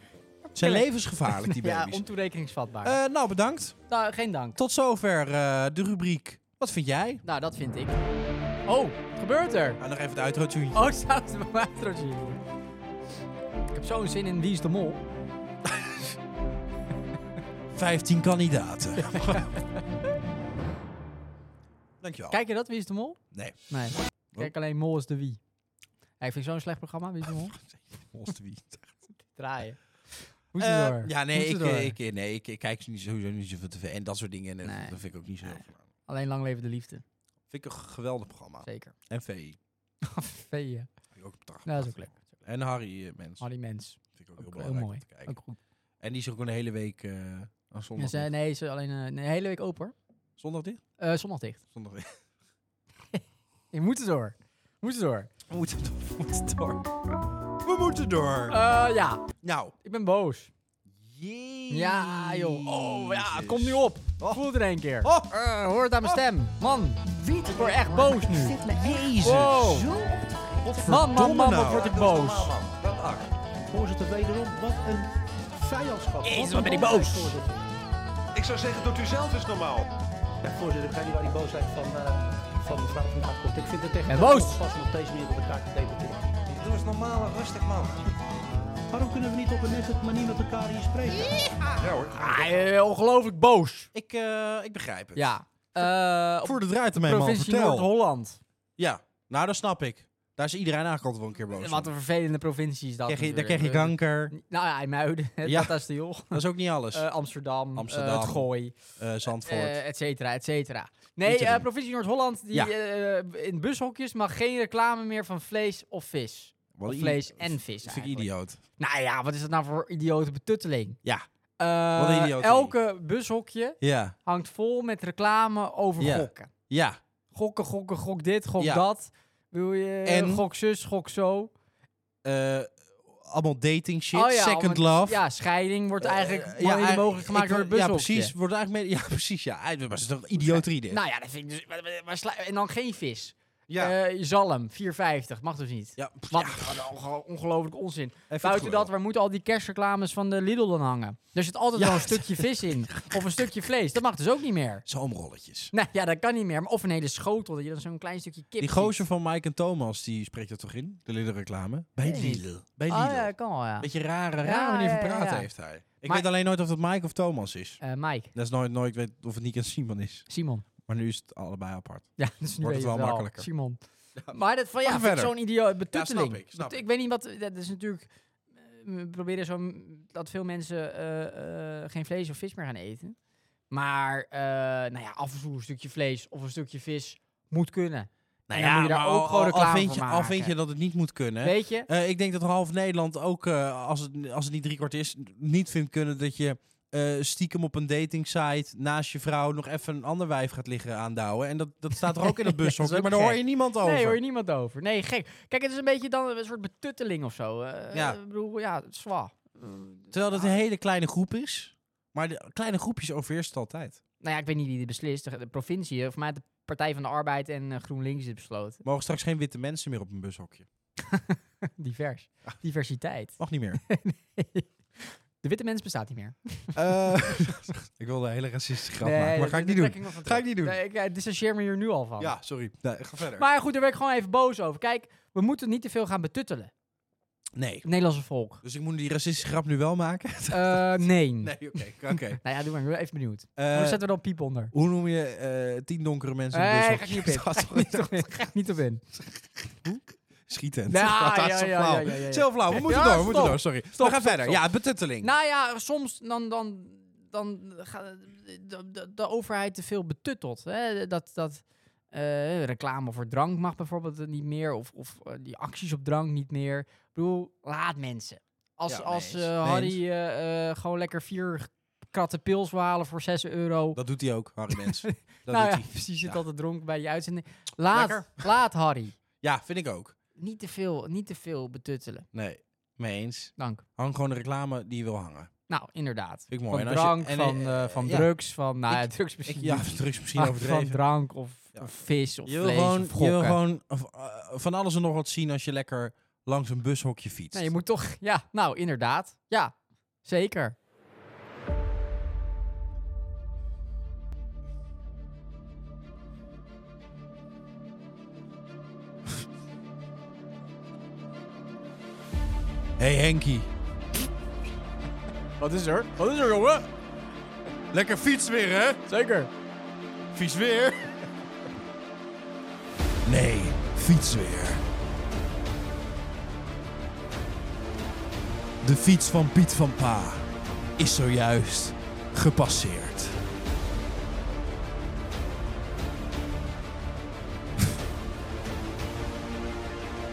A: zijn
B: Nee.
A: levensgevaarlijk, die
B: Ja,
A: baby's.
B: ontoerekeningsvatbaar.
A: Eh, nou, bedankt.
B: nou, geen dank.
A: Tot zover eh, de rubriek. Wat vind jij?
B: Nou, dat vind ik. Oh, wat gebeurt er?
A: Nou, nog even het outro tune.
B: Oh, zou het een watertje Ik heb zo'n zin in Wie is de Mol.
A: 15 kandidaten. Dankjewel.
B: Kijk je dat, Wie is de Mol?
A: Nee.
B: Nee. Kijk alleen Mol is de Wie. Ja, ik vind zo'n slecht programma, Wie is de Mol.
A: Volgens de wie.
B: Draaien. Moet je
A: Eh,
B: door.
A: ja, nee,
B: Moet je
A: ik,
B: door.
A: eh, ik, eh, nee ik, ik kijk niet, sowieso niet zoveel tv. En dat soort dingen, eh,
B: Nee.
A: dat vind ik ook niet zo heel
B: Nee.
A: veel aan.
B: Alleen lang leven de liefde.
A: Vind ik een geweldig programma.
B: Zeker.
A: En VI.
B: Veeën.
A: Vind ik ook een
B: Nou, dat is ook leuk.
A: En Harry eh, Mens.
B: Al die mens.
A: Vind ik ook,
B: Ook
A: heel
B: heel
A: belangrijk
B: mooi.
A: om te kijken.
B: Ook goed.
A: En die is ook een hele week eh aan
B: En
A: zondag.
B: ze, nee, ze alleen eh, een hele week open. hoor.
A: Zondag dit?
B: Eh zondag dicht.
A: Zondag dit.
B: Je moet er door. Moet er door.
A: We moeten door. We moeten door. We moeten door.
B: Eh, ja,
A: nou.
B: ik ben boos.
A: Jezus.
B: Ja, joh. Oh, ja, het komt nu op. Voel het er een keer.
A: Oh.
B: Eh, hoor het aan mijn stem. Man,
D: Weet het
B: word
D: niet,
B: echt
D: man.
B: boos nu.
D: Ik Zit me echt
A: Jezus.
B: Wow.
D: zo op te
B: Man, man, man, wat
A: nou.
B: word ik boos.
E: Voorzitter, wederom, wat een vijandschap.
B: Jezus,
E: een
B: wat ben ik
E: wanbeleid,
B: boos.
E: voorzitter.
F: Ik zou zeggen, doet u zelf eens normaal.
E: Ja, voorzitter, ik ga niet waar die boosheid van, eh, van mevrouw van Haag komt. Ik vind het echt
B: Ben boos.
E: vast op deze manier met elkaar te debatteren.
F: Doe eens normaal en rustig, man.
E: Waarom kunnen we niet op een nette manier met elkaar hier spreken?
F: Ja hoor.
B: Ah, eh, ongelooflijk boos.
A: Ik, eh, ik begrijp het.
B: Ja. Eh op
A: Voor de draait ermee, man.
B: provincie
A: Vertel.
B: Noord-Holland.
A: Ja. Nou, dat snap ik. Daar is iedereen eigenlijk altijd wel een keer boos
B: Wat
A: om.
B: een vervelende provincie is dat.
A: Krijg je- Daar
B: natuurlijk.
A: krijg je kanker.
B: Nou ja, IJmuiden, het
A: Ja.
B: Batastiel,
A: Dat is ook niet alles.
B: eh, Amsterdam, Amsterdam.
A: Amsterdam.
B: het Gooi,
A: Eh, Zandvoort.
B: eh et cetera, et cetera.
A: Niet
B: Nee,
A: te
B: eh,
A: doen.
B: provincie Noord-Holland, die
A: Ja.
B: eh, in bushokjes mag geen reclame meer van vlees of vis.
A: Wat
B: of
A: een
B: vlees
A: i-
B: en vis
A: Dat vind ik
B: eigenlijk.
A: idioot.
B: Nou ja, wat is dat nou voor idiote betutteling?
A: Ja.
B: Eh,
A: Wat een idioot.
B: elke bushokje
A: Ja.
B: hangt vol met reclame over
A: Ja.
B: gokken.
A: Ja.
B: Gokken, gokken, gok dit, gok
A: Ja.
B: dat. Wil je
A: En-
B: gok zus, gok zo.
A: Eh, allemaal dating shit.
B: Oh ja,
A: Second
B: allemaal-
A: love.
B: Ja, scheiding wordt eigenlijk
A: Eh,
B: mede
A: eigenlijk-
B: mogelijk gemaakt
A: ik-
B: door het
A: Ja,
B: bushokje.
A: precies. Wordt eigenlijk mee, ja, precies. Ja. Maar het is toch idioterie dit?
B: Nou ja, dat vind ik dus... maar- maar- maar sla- en dan geen vis.
A: Ja.
B: Eh, zalm, 4,50. Mag dus niet.
A: ja.
B: Wat
A: ja.
B: wat een onge- ongelooflijk onzin.
A: het
B: Buiten
A: geweldig.
B: dat, waar moeten al die kerstreclames van de Lidl dan hangen? Er zit altijd
A: Ja.
B: wel een stukje vis in. Of een stukje vlees. Dat mag dus ook niet meer.
A: Zomerrolletjes.
B: Nou ja, dat kan niet meer. Maar Of een hele schotel, dat je dan zo'n klein stukje
A: Die
B: kip ziet.
A: gozer van Mike en Thomas, die spreekt dat toch in? De Lidl-reclame? Bij
B: Weet ik niet.
A: Lidl. Bij Lidl.
B: Oh ja, kan wel, ja.
A: Beetje rare, rare
B: Ja,
A: manier van
B: ja, ja,
A: praten
B: ja.
A: heeft hij. Ik
B: Maar-
A: weet alleen nooit of dat Mike of Thomas is.
B: Eh, Mike,
A: Dat is nooit, nooit weet of het niet aan Simon is.
B: Simon.
A: Maar nu is het allebei apart.
B: Ja, dus nu
A: Wordt
B: weet
A: het
B: je
A: wel makkelijker.
B: Simon. Maar dat van ja,
A: Maar
B: vind ik
A: verder.
B: zo'n idioot betutteling.
A: snap ik, snap
B: Dat-
A: ik.
B: weet niet wat. Dat is natuurlijk. eh, We proberen zo dat veel mensen eh, eh, geen vlees of vis meer gaan eten. Maar eh, nou ja, af en toe een stukje vlees of een stukje vis moet kunnen.
A: Nou
B: En dan moet je daar
A: maar
B: ook
A: al-
B: gewoon
A: al- al
B: reclame
A: vind
B: voor
A: je, al
B: maken.
A: vind je dat het niet moet kunnen.
B: Weet je?
A: Eh, ik denk dat half Nederland ook, eh, als, het, als het niet driekwart is, niet vindt kunnen dat je eh, stiekem op een datingsite naast je vrouw nog even een ander wijf gaat liggen aandouwen. En dat, dat staat er ook in dat
B: Dat is
A: bushokje,
B: ook
A: maar daar hoor
B: gek.
A: je niemand over.
B: Nee, hoor je niemand over. Nee, gek. Kijk, het is een beetje dan een soort betutteling of zo. Eh,
A: Ja.
B: Ik bedoel, ja, zwa. Eh, nou
A: Terwijl
B: Ah.
A: dat een hele kleine groep is. Maar de kleine groepjes overheerst het altijd.
B: Nou ja, ik weet niet wie dit beslist. De, de provincie, of mij de Partij van de Arbeid en eh, GroenLinks dit besloten.
A: Mogen straks geen witte mensen meer op een bushokje.
B: Divers. Diversiteit.
A: Mag niet meer.
B: De witte mens bestaat niet meer.
A: Eh, ik wilde een hele racistische grap maken, maar
B: dat-
A: ga ik
B: dat
A: niet doen.
B: trek nog van
A: Ga ik
B: terug.
A: niet doen.
B: Nee, ik eh, distancieer me hier nu al van.
A: Ja, sorry. Nee, ga verder.
B: Maar goed, daar werd ik gewoon even boos over. Kijk, we moeten niet te veel gaan betuttelen.
A: Nee.
B: Het Nederlandse volk.
A: Dus ik moet die racistische grap nu wel maken?
B: Eh, nee.
A: Nee, oké. oké.
B: Nou ja, doe maar. Ik ben even benieuwd.
A: Eh,
B: Dan zetten we dan piep onder.
A: hoe noem je eh, tien donkere mensen in
B: Nee,
A: een
B: ga
A: bushokje?
B: ik niet
A: Dat
B: op in. Ga
A: is
B: ik niet
A: toch-
B: op in. Ga ik niet op in.
A: Schieten.
B: Ja,
A: dat is
B: ja,
A: zo
B: ja,
A: flauw.
B: ja, ja, ja.
A: Zo flauw. We moeten
B: Ja,
A: door, we moeten
B: stop.
A: door. Sorry.
B: Stop,
A: we gaan
B: stop,
A: verder.
B: stop.
A: Ja, betutteling.
B: Nou ja, soms dan, dan, dan gaat de, de, de overheid te veel betuttelt. Hè? Dat, dat eh, reclame voor drank mag bijvoorbeeld niet meer. Of, of eh, die acties op drank niet meer. Ik bedoel, laat mensen. Als,
A: Ja, mee
B: als
A: eens.
B: eh,
A: Mee
B: Harry eh, eh, gewoon lekker vier kratten pils wil halen voor 6 euro.
A: Dat doet hij ook, Harry Mens. Dat
B: nou
A: doet
B: ja,
A: hij.
B: precies. Zit
A: Ja.
B: altijd dronken bij die uitzending. Laat,
A: Lekker.
B: laat Harry.
A: ja, vind ik ook.
B: Niet te, veel, niet te veel betuttelen.
A: Nee, mee eens.
B: Dank.
A: Hang gewoon de reclame die je wil hangen.
B: Nou, inderdaad.
A: Vind ik mooi.
B: Van
A: En als je-
B: drank,
A: en,
B: van,
A: eh,
B: eh, van
A: ja.
B: drugs, van... Nou,
A: Ik-
B: ja, drugs
A: Ik,
B: misschien
A: ja,
B: niet.
A: drugs misschien
B: Maar van
A: overdreven.
B: drank of
A: Ja.
B: of vis of
A: je wil
B: vlees
A: gewoon,
B: of
A: je wil
B: gokken.
A: gewoon eh, v- eh, van alles en nog wat zien als je lekker langs een bushokje fietst.
B: Nee, je moet toch... Ja, nou, inderdaad. Ja, zeker.
A: Hey Henkie.
B: Wat is er? Wat is er, jongen?
A: Lekker fiets weer, hè?
B: Zeker.
A: Fiets weer. Nee, fiets weer. De fiets van Piet van Pa is zojuist gepasseerd.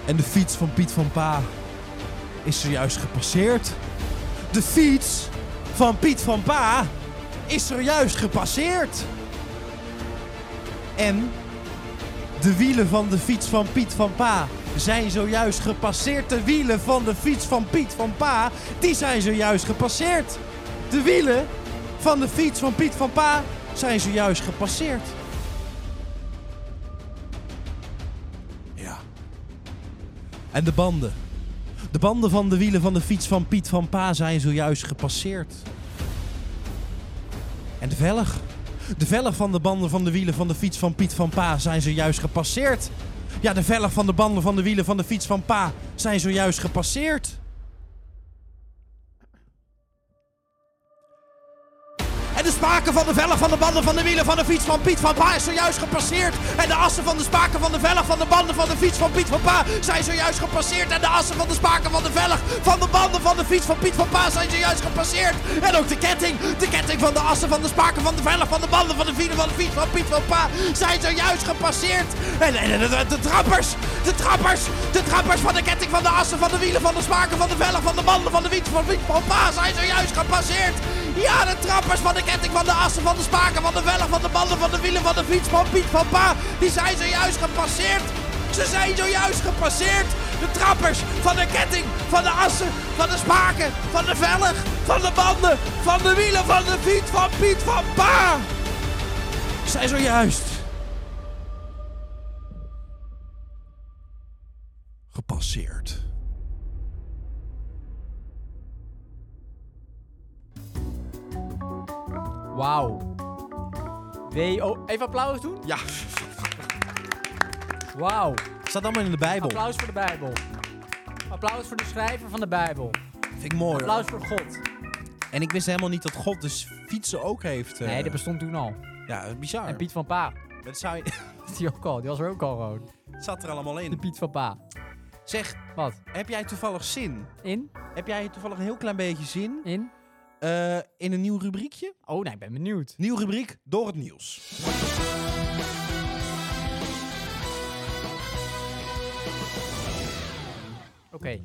A: En de fiets van Piet van Pa is zojuist gepasseerd. De fiets van Piet van Pa is zojuist gepasseerd. En de wielen van de fiets van Piet van Pa zijn zojuist gepasseerd. De wielen van de fiets van Piet van Pa, die zijn zojuist gepasseerd. De wielen van de fiets van Piet van Pa zijn zojuist gepasseerd. Ja. En de banden. De banden van de wielen van de fiets van Piet van Pa zijn zojuist gepasseerd. En de velg. De velg van de banden van de wielen van de fiets van Piet van Pa zijn zojuist gepasseerd. Ja, de velg van de banden van de wielen van de fiets van Pa zijn zojuist gepasseerd. En de spaken van de velg van de banden van de wielen van de fiets van Piet van Pa is zojuist gepasseerd. En de assen van de spaken van de velg van de banden van de fiets van Piet van Pa zijn zojuist gepasseerd. En de assen van de spaken van de velg van de banden van de fiets van Piet van Pa zijn zojuist gepasseerd. En ook de ketting, de ketting van de assen van de spaken van de velg van de banden van de wielen van de fiets van Piet van Pa zijn zojuist gepasseerd. En, en- en- en- en de trappers, de trappers, de trappers van de ketting van de assen van de wielen van de spaken van de velg van de banden van de fiets van Piet van Pa zijn zojuist gepasseerd. Ja, de trappers van de ketting, van de assen, van de spaken, van de velg, van de banden, van de wielen, van de fiets, van Piet, van Pa. Die zijn zojuist gepasseerd. Ze zijn zojuist gepasseerd. De trappers van de ketting, van de assen, van de spaken, van de velg, van de banden, van de wielen, van de fiets, van Piet, van Pa. Zijn zojuist gepasseerd.
B: Wauw. W.O. Even applaus doen?
A: Ja,
B: Wauw.
A: staat allemaal in de Bijbel.
B: Applaus voor de Bijbel. Applaus voor de schrijver van de Bijbel.
A: Vind ik mooi.
B: Applaus voor God.
A: En ik wist helemaal niet dat God dus fietsen ook heeft. eh, Oh.
B: Nee, dat bestond toen al.
A: Ja, dat is bizar.
B: En Piet van Pa.
A: Dat zou je-
B: Is Die, ook al. die was er ook al gewoon.
A: Het zat er allemaal
B: De
A: in.
B: Piet van Pa.
A: Zeg,
B: Wat?
A: heb jij toevallig zin?
B: In?
A: Heb jij toevallig een heel klein beetje zin
B: In?
A: eh, eh, in een nieuw rubriekje.
B: Oh nee, ik ben benieuwd.
A: Nieuw rubriek, door het nieuws.
B: Oké.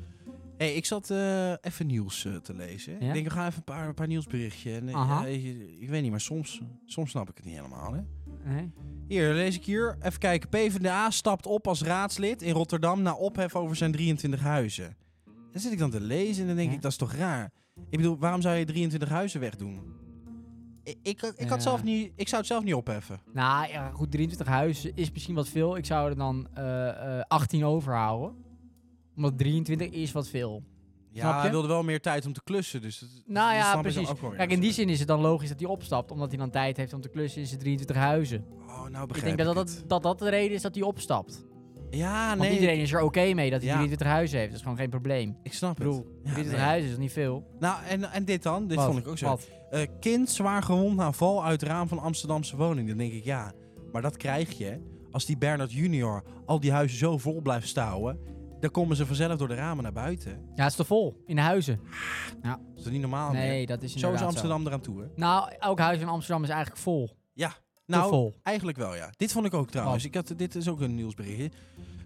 A: hey, ik zat eh, even nieuws eh, te lezen.
B: Ja?
A: Ik denk, we gaan even een paar, een paar nieuwsberichtjes. En, eh,
B: Aha.
A: ja, je- ik weet niet, maar soms, soms snap ik het niet helemaal, hè.
B: Nee.
A: Hier, lees ik hier. Even kijken. PvdA stapt op als raadslid in Rotterdam na ophef over zijn 23 huizen. Dan zit ik dan te lezen en dan denk
B: Ja.
A: ik, dat is toch raar? Ik bedoel, waarom zou je 23 huizen wegdoen? Ik, ik, ik, had
B: Ja.
A: zelf niet, ik zou het zelf niet opheffen.
B: Nou ja, goed, 23 huizen is misschien wat veel. Ik zou er dan eh, eh, 18 overhouden. Omdat 23 is wat veel. Snap
A: Ja,
B: je?
A: hij wilde wel meer tijd om te klussen, dus... Dat,
B: Nou
A: dat snap
B: ja,
A: ik dan
B: precies.
A: ook wel weer
B: Kijk, in die
A: natuurlijk.
B: zin is het dan logisch dat hij opstapt. Omdat hij dan tijd heeft om te klussen in zijn 23 huizen.
A: Oh, nou
B: Ik
A: begrijp
B: denk
A: ik,
B: dat dat,
A: het.
B: dat dat de reden is dat hij opstapt.
A: Ja,
B: Want
A: nee,
B: iedereen is er oké mee dat hij
A: Ja.
B: 23 huizen heeft. Dat is gewoon geen probleem. Ik
A: ik snap
B: bedoel,
A: het. Ja,
B: 23
A: nee.
B: huizen is niet veel.
A: Nou, en, en dit dan? Dit
B: Wat?
A: vond ik ook zo.
B: Wat?
A: Eh, kind zwaar gewond na val uit raam van Amsterdamse woning. Dan denk ik, ja, maar dat krijg je. hè. Als die Bernard junior al die huizen zo vol blijft stouwen... dan komen ze vanzelf door de ramen naar buiten.
B: Ja, het is te vol. In de huizen.
A: Dat is toch niet normaal meer?
B: Nee, dat is
A: Oh, Zo
B: inderdaad
A: is
B: zo.
A: Amsterdam eraan toe, hè?
B: Nou, elk huis in Amsterdam is eigenlijk vol.
A: Ja. Nou,
B: vol. Oh.
A: eigenlijk wel, ja. Dit vond ik ook trouwens. Ik had, dit is ook een nieuwsberichtje.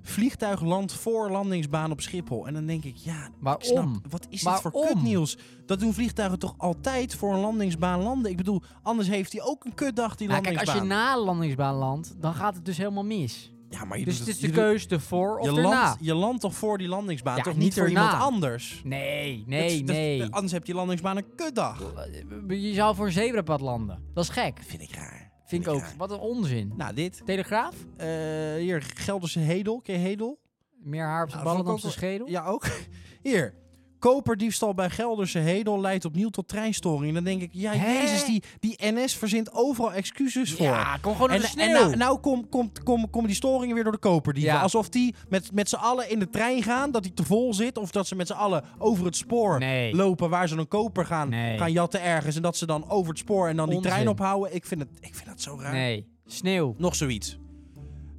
A: Vliegtuig landt voor landingsbaan op Schiphol. En dan denk ik, ja, ik snap,
B: Waarom?
A: wat is dit
B: Waarom?
A: voor kutnieuws? Dat doen vliegtuigen toch altijd voor een landingsbaan landen? Ik bedoel, anders heeft hij ook een kutdag, die
B: Nou, kijk,
A: landingsbaan.
B: als je na de landingsbaan landt, dan gaat het dus helemaal mis.
A: Ja, maar je
B: Dus
A: doet
B: het is de
A: je doet-
B: keuze ervoor of
A: Je
B: erna.
A: landt, je landt toch voor die landingsbaan,
B: Ja,
A: toch
B: niet
A: niet voor
B: erna.
A: iemand anders?
B: Nee,
A: Dat is-
B: nee,
A: dat-
B: nee.
A: anders heb je landingsbaan een kutdag.
B: Je zou voor een zebrapad landen. Dat is gek.
A: Vind ik raar.
B: Vind ik ook.
A: raar.
B: Wat een onzin.
A: Nou, dit.
B: Telegraaf?
A: Eh, hier, Gelderse Hedel. Ken je Hedel?
B: Meer haar op zijn
A: Nou,
B: ballen
A: vond ik
B: dan
A: ook
B: op zijn schedel?
A: Ja, ook. Hier. Koperdiefstal bij Gelderse Hedel leidt opnieuw tot treinstoring. Dan denk ik, ja,
B: Hè?
A: jezus, die, die NS verzint overal excuses voor.
B: Ja, kom gewoon naar
A: en,
B: de
A: en
B: sneeuw.
A: nou, nou kom, kom, kom, komen die storingen weer door de koperdieven.
B: Ja.
A: Alsof die met, met z'n allen in de trein gaan, dat die te vol zit. Of dat ze met z'n allen over het spoor
B: Nee.
A: lopen waar ze een koper gaan,
B: Nee.
A: gaan jatten ergens. En dat ze dan over het spoor en dan die
B: Onzin.
A: trein ophouden. Ik vind, het, ik vind dat zo raar.
B: Nee, sneeuw.
A: Nog zoiets.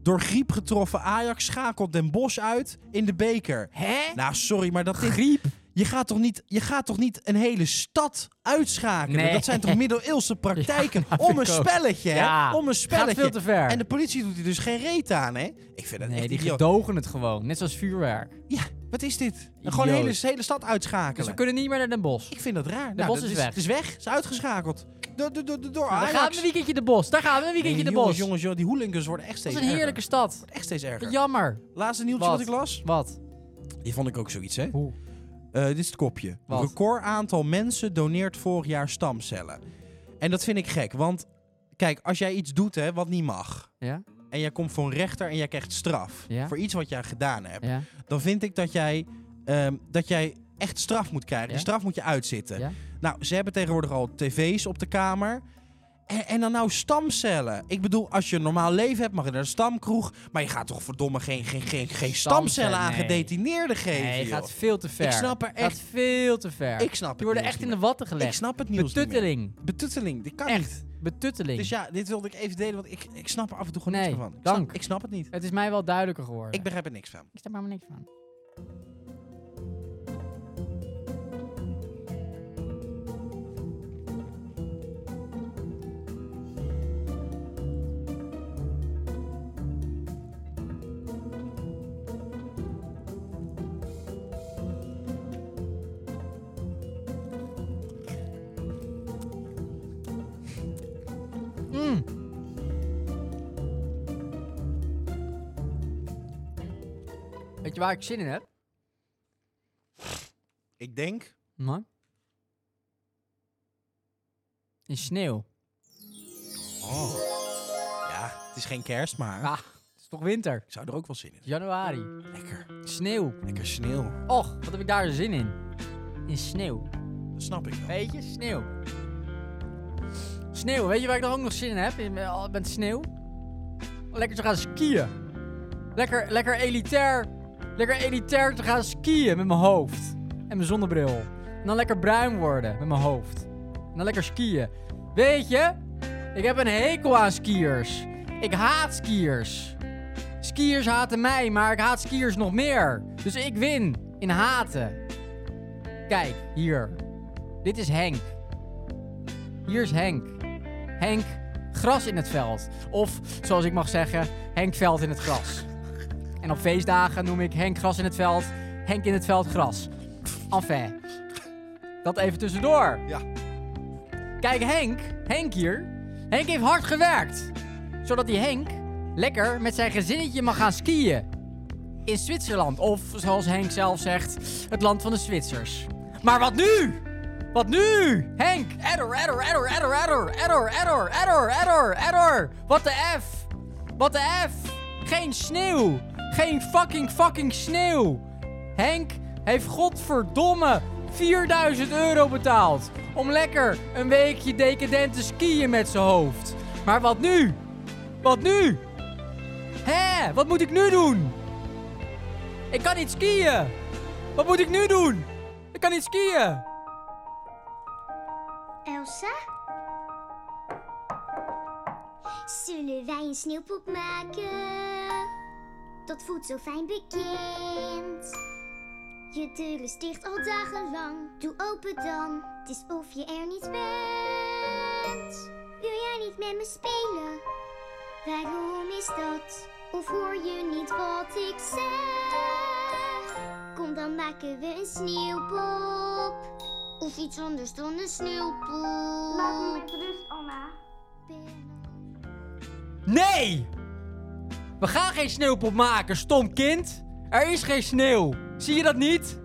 A: Door griep getroffen Ajax schakelt Den Bosch uit in de beker.
B: Hè?
A: Nou, sorry, maar dat dit,
B: Griep?
A: je, gaat toch niet, je gaat toch niet een hele stad uitschakelen?
B: Nee.
A: Dat zijn toch middeleeuwse praktijken?
B: Ja, nou,
A: om een
B: vind ik ook.
A: spelletje, hè?
B: Ja,
A: Om een spelletje.
B: Gaat veel te ver.
A: En de politie doet hier dus geen reet aan, hè? Ik vind dat
B: nee,
A: echt
B: die
A: idioot.
B: gedogen het gewoon. Net zoals vuurwerk.
A: Ja, wat is dit? Gewoon
B: Idioot.
A: de hele, hele stad
B: Dus we
A: uitschakelen.
B: kunnen niet meer naar Den Bosch.
A: Ik vind dat raar. De
B: Bos is weg.
A: Het is weg. Is uitgeschakeld. Door, door, door, door
B: Nou,
A: Ajax.
B: daar gaan we een weekendje de Bos. Daar gaan we een weekendje
A: Nee,
B: de
A: jongens,
B: Bos.
A: jongens, jongens, die hooligans worden echt
B: dat
A: steeds
B: is een heerlijke
A: erger.
B: stad.
A: Wordt echt steeds erger.
B: Wat jammer.
A: Laatste nieuwtje
B: Wat?
A: wat ik las.
B: Wat?
A: Die vond ik ook zoiets, hè?
B: Hoe?
A: Eh, dit is het kopje.
B: Wat?
A: Record aantal mensen doneert vorig jaar stamcellen. En dat vind ik gek, want kijk, als jij iets doet hè, wat niet mag.
B: Ja?
A: En jij komt voor een rechter en jij krijgt straf
B: Ja.
A: voor iets wat jij gedaan hebt.
B: Ja?
A: Dan vind ik dat jij, ehm, dat jij echt straf moet krijgen. Die
B: Ja.
A: straf moet je uitzitten.
B: Ja?
A: Nou, ze hebben tegenwoordig al tv's op de kamer. En, en dan nou stamcellen. Ik bedoel, als je een normaal leven hebt, mag je naar de stamkroeg. Maar je gaat toch verdomme geen, geen, geen, geen stamcellen aan
B: nee.
A: gedetineerden geven.
B: Nee, je
A: joh.
B: gaat veel te ver.
A: Ik snap er echt-
B: Gaat veel te ver.
A: Ik snap het
B: Die worden
A: nieuws
B: echt
A: niet
B: in de watten gelegd.
A: Ik snap het nieuws niet meer.
B: Betutteling.
A: Betutteling, dit kan niet.
B: Echt. Betutteling.
A: Dus ja, dit wilde ik even delen, want ik, ik snap er af en toe gewoon
B: Nee,
A: niks meer van. Ik
B: dank.
A: snap, ik snap het niet.
B: Het is mij wel duidelijker geworden.
A: Ik begrijp er niks van.
B: Ik snap er helemaal niks van. Weet je waar ik zin in heb?
A: Ik denk...
B: Man. In sneeuw.
A: Oh. Ja, het is geen kerst, maar
B: Ah, het is toch winter?
A: ik zou er ook wel zin in.
B: Januari.
A: Lekker.
B: Sneeuw.
A: Lekker sneeuw.
B: Och, wat heb ik daar zin in? In sneeuw.
A: Dat snap ik wel.
B: Weet je, sneeuw. Sneeuw, weet je waar ik nog ook nog zin in heb? In, eh, met sneeuw? Lekker te gaan skiën. Lekker, lekker elitair. Lekker elitair te gaan skiën met mijn hoofd. En mijn zonnebril. En dan lekker bruin worden met mijn hoofd. En dan lekker skiën. Weet je, ik heb een hekel aan skiers. Ik haat skiers. Skiers haten mij, maar ik haat skiers nog meer. Dus ik win in haten. Kijk, hier. Dit is Henk. Hier is Henk. Henk, gras in het veld. Of, zoals ik mag zeggen, Henk veld in het gras. En op feestdagen noem ik Henk gras in het veld, Henk in het veld gras. Enfin, dat even tussendoor.
A: Ja.
B: Kijk, Henk, Henk hier, Henk heeft hard gewerkt. Zodat die Henk lekker met zijn gezinnetje mag gaan skiën. In Zwitserland, of zoals Henk zelf zegt, het land van de Zwitsers. Maar wat nu? Wat nu? Henk, error, error, error, error, error, error, error, error, error, error. Wat de F? Wat de F? Geen sneeuw. Geen fucking fucking sneeuw. Henk heeft godverdomme 4000 euro betaald. Om lekker een weekje decadent te skiën met zijn hoofd. Maar wat nu? Wat nu? Hé, wat moet ik nu doen? Ik kan niet skiën. Wat moet ik nu doen? Ik kan niet skiën.
D: Elsa? Zullen wij een sneeuwpop maken? Dat voelt zo fijn bekend. Je deur is dicht al dagenlang. Doe open dan, het is of je er niet bent. Wil jij niet met me spelen? Waarom is dat? Of hoor je niet wat ik zeg? Kom dan maken we een sneeuwpop. Of iets anders dan een sneeuwpop. Laat me met rust, Anna.
B: Nee! We gaan geen sneeuwpop maken, stom kind. Er is geen sneeuw. Zie je dat niet?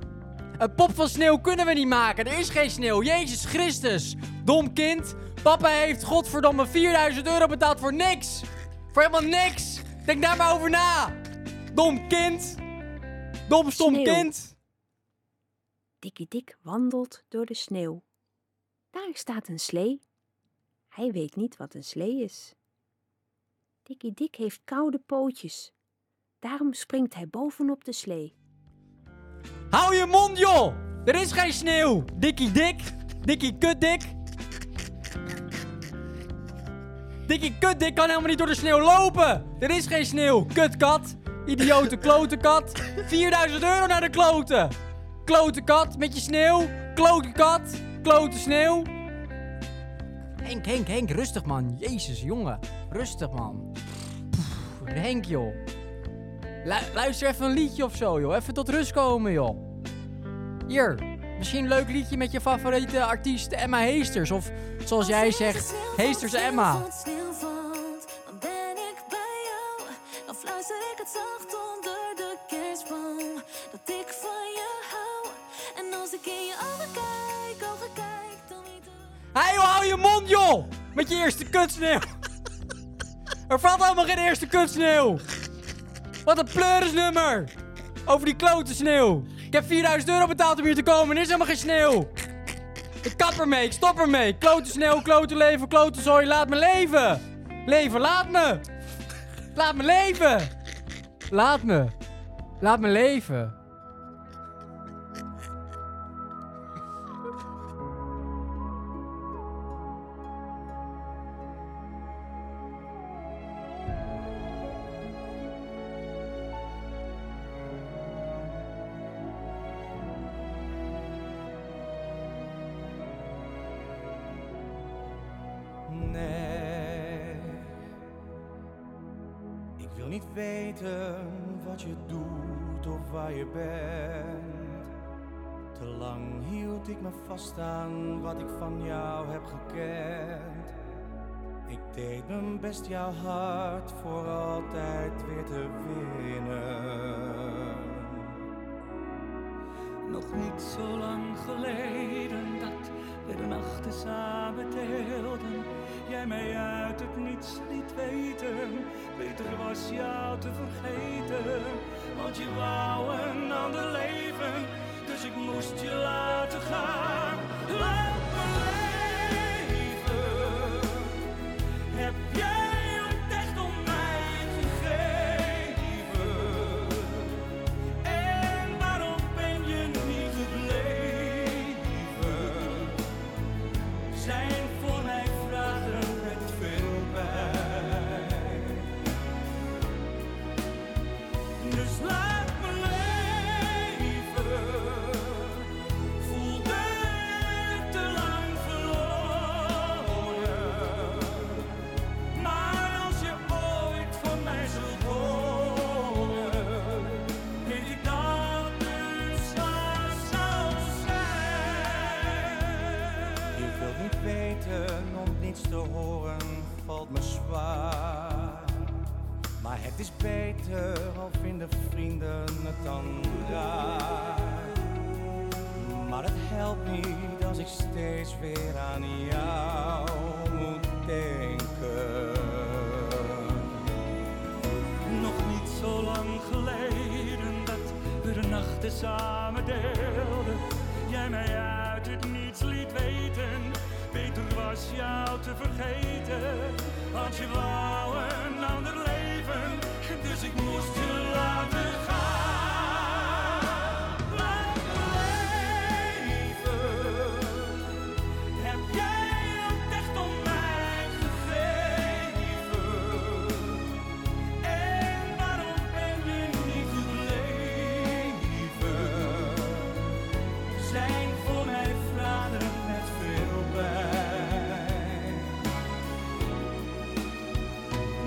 B: Een pop van sneeuw kunnen we niet maken. Er is geen sneeuw. Jezus Christus. Dom kind. Papa heeft godverdomme 4000 euro betaald voor niks. Voor helemaal niks. Denk daar maar over na. Dom kind. Dom stom
G: Sneeuw.
B: kind.
G: Dikkie Dik wandelt door de sneeuw. Daar staat een slee. Hij weet niet wat een slee is. Dikkie Dik heeft koude pootjes. Daarom springt hij bovenop de slee.
B: Hou je mond, joh. Er is geen sneeuw. Dikkie dik. Dikkie kutdik. Dikkie kutdik kan helemaal niet door de sneeuw lopen. Er is geen sneeuw. Kutkat. Idiote klote kat. 4000 euro naar de kloten. Klote kat met je sneeuw. Klote kat. Klote sneeuw. Henk, Henk, Henk. Rustig, man. Jezus, jongen. Rustig, man. Pff, Henk, joh. Lu- luister even een liedje of zo, joh. Even tot rust komen, joh. Hier, misschien een leuk liedje met je favoriete artiest Emma Heesters. Of zoals jij zegt, Heesters Emma.
H: Dan ben ik bij jou. Dan fluister ik het zacht onder de kerstboom. Dat ik van je hou. En als ik in je ogen kijk, ogen kijk, dan weet ik.
B: Hé, joh, hou je mond, joh! Met je eerste kutsneeuw. er valt helemaal geen eerste kutsneeuw. Wat een pleurisnummer. Over die klote sneeuw. Ik heb 4000 euro betaald om hier te komen. Er is helemaal geen sneeuw. Ik kap ermee, ik stop ermee. Klote sneeuw, klote leven, klote zooi. Laat me leven. Leven, laat me. Laat me leven. Laat me. Laat me leven.
I: Nee, ik wil niet weten wat je doet of waar je bent. Te lang hield ik me vast aan wat ik van jou heb gekend. Ik deed mijn best jouw hart voor altijd weer te winnen.
H: Nog niet zo lang geleden dat we de nachten samen deelden. Jij mij uit het niets liet weten, beter was jou te vergeten. Want je wou een ander leven, dus ik moest je laten gaan. Laat me leven. Heb jij het echt om mij gegeven? En waarom ben je niet gebleven? Zijn voor mij vragen met veel pijn. Dus laat me leven. Voelde het
J: het dan raak. Maar het helpt niet als ik steeds weer aan jou moet denken.
I: Nog niet zo lang geleden dat we de nachten samen deelden. Jij mij uit het niets liet weten, beter was jou te vergeten. Want je wou een ander leven, dus ik moest je laten gaan. Laat me leven. Heb jij het echt om mij gegeven? En waarom ben je niet gebleven? Zijn voor mij vader met veel pijn.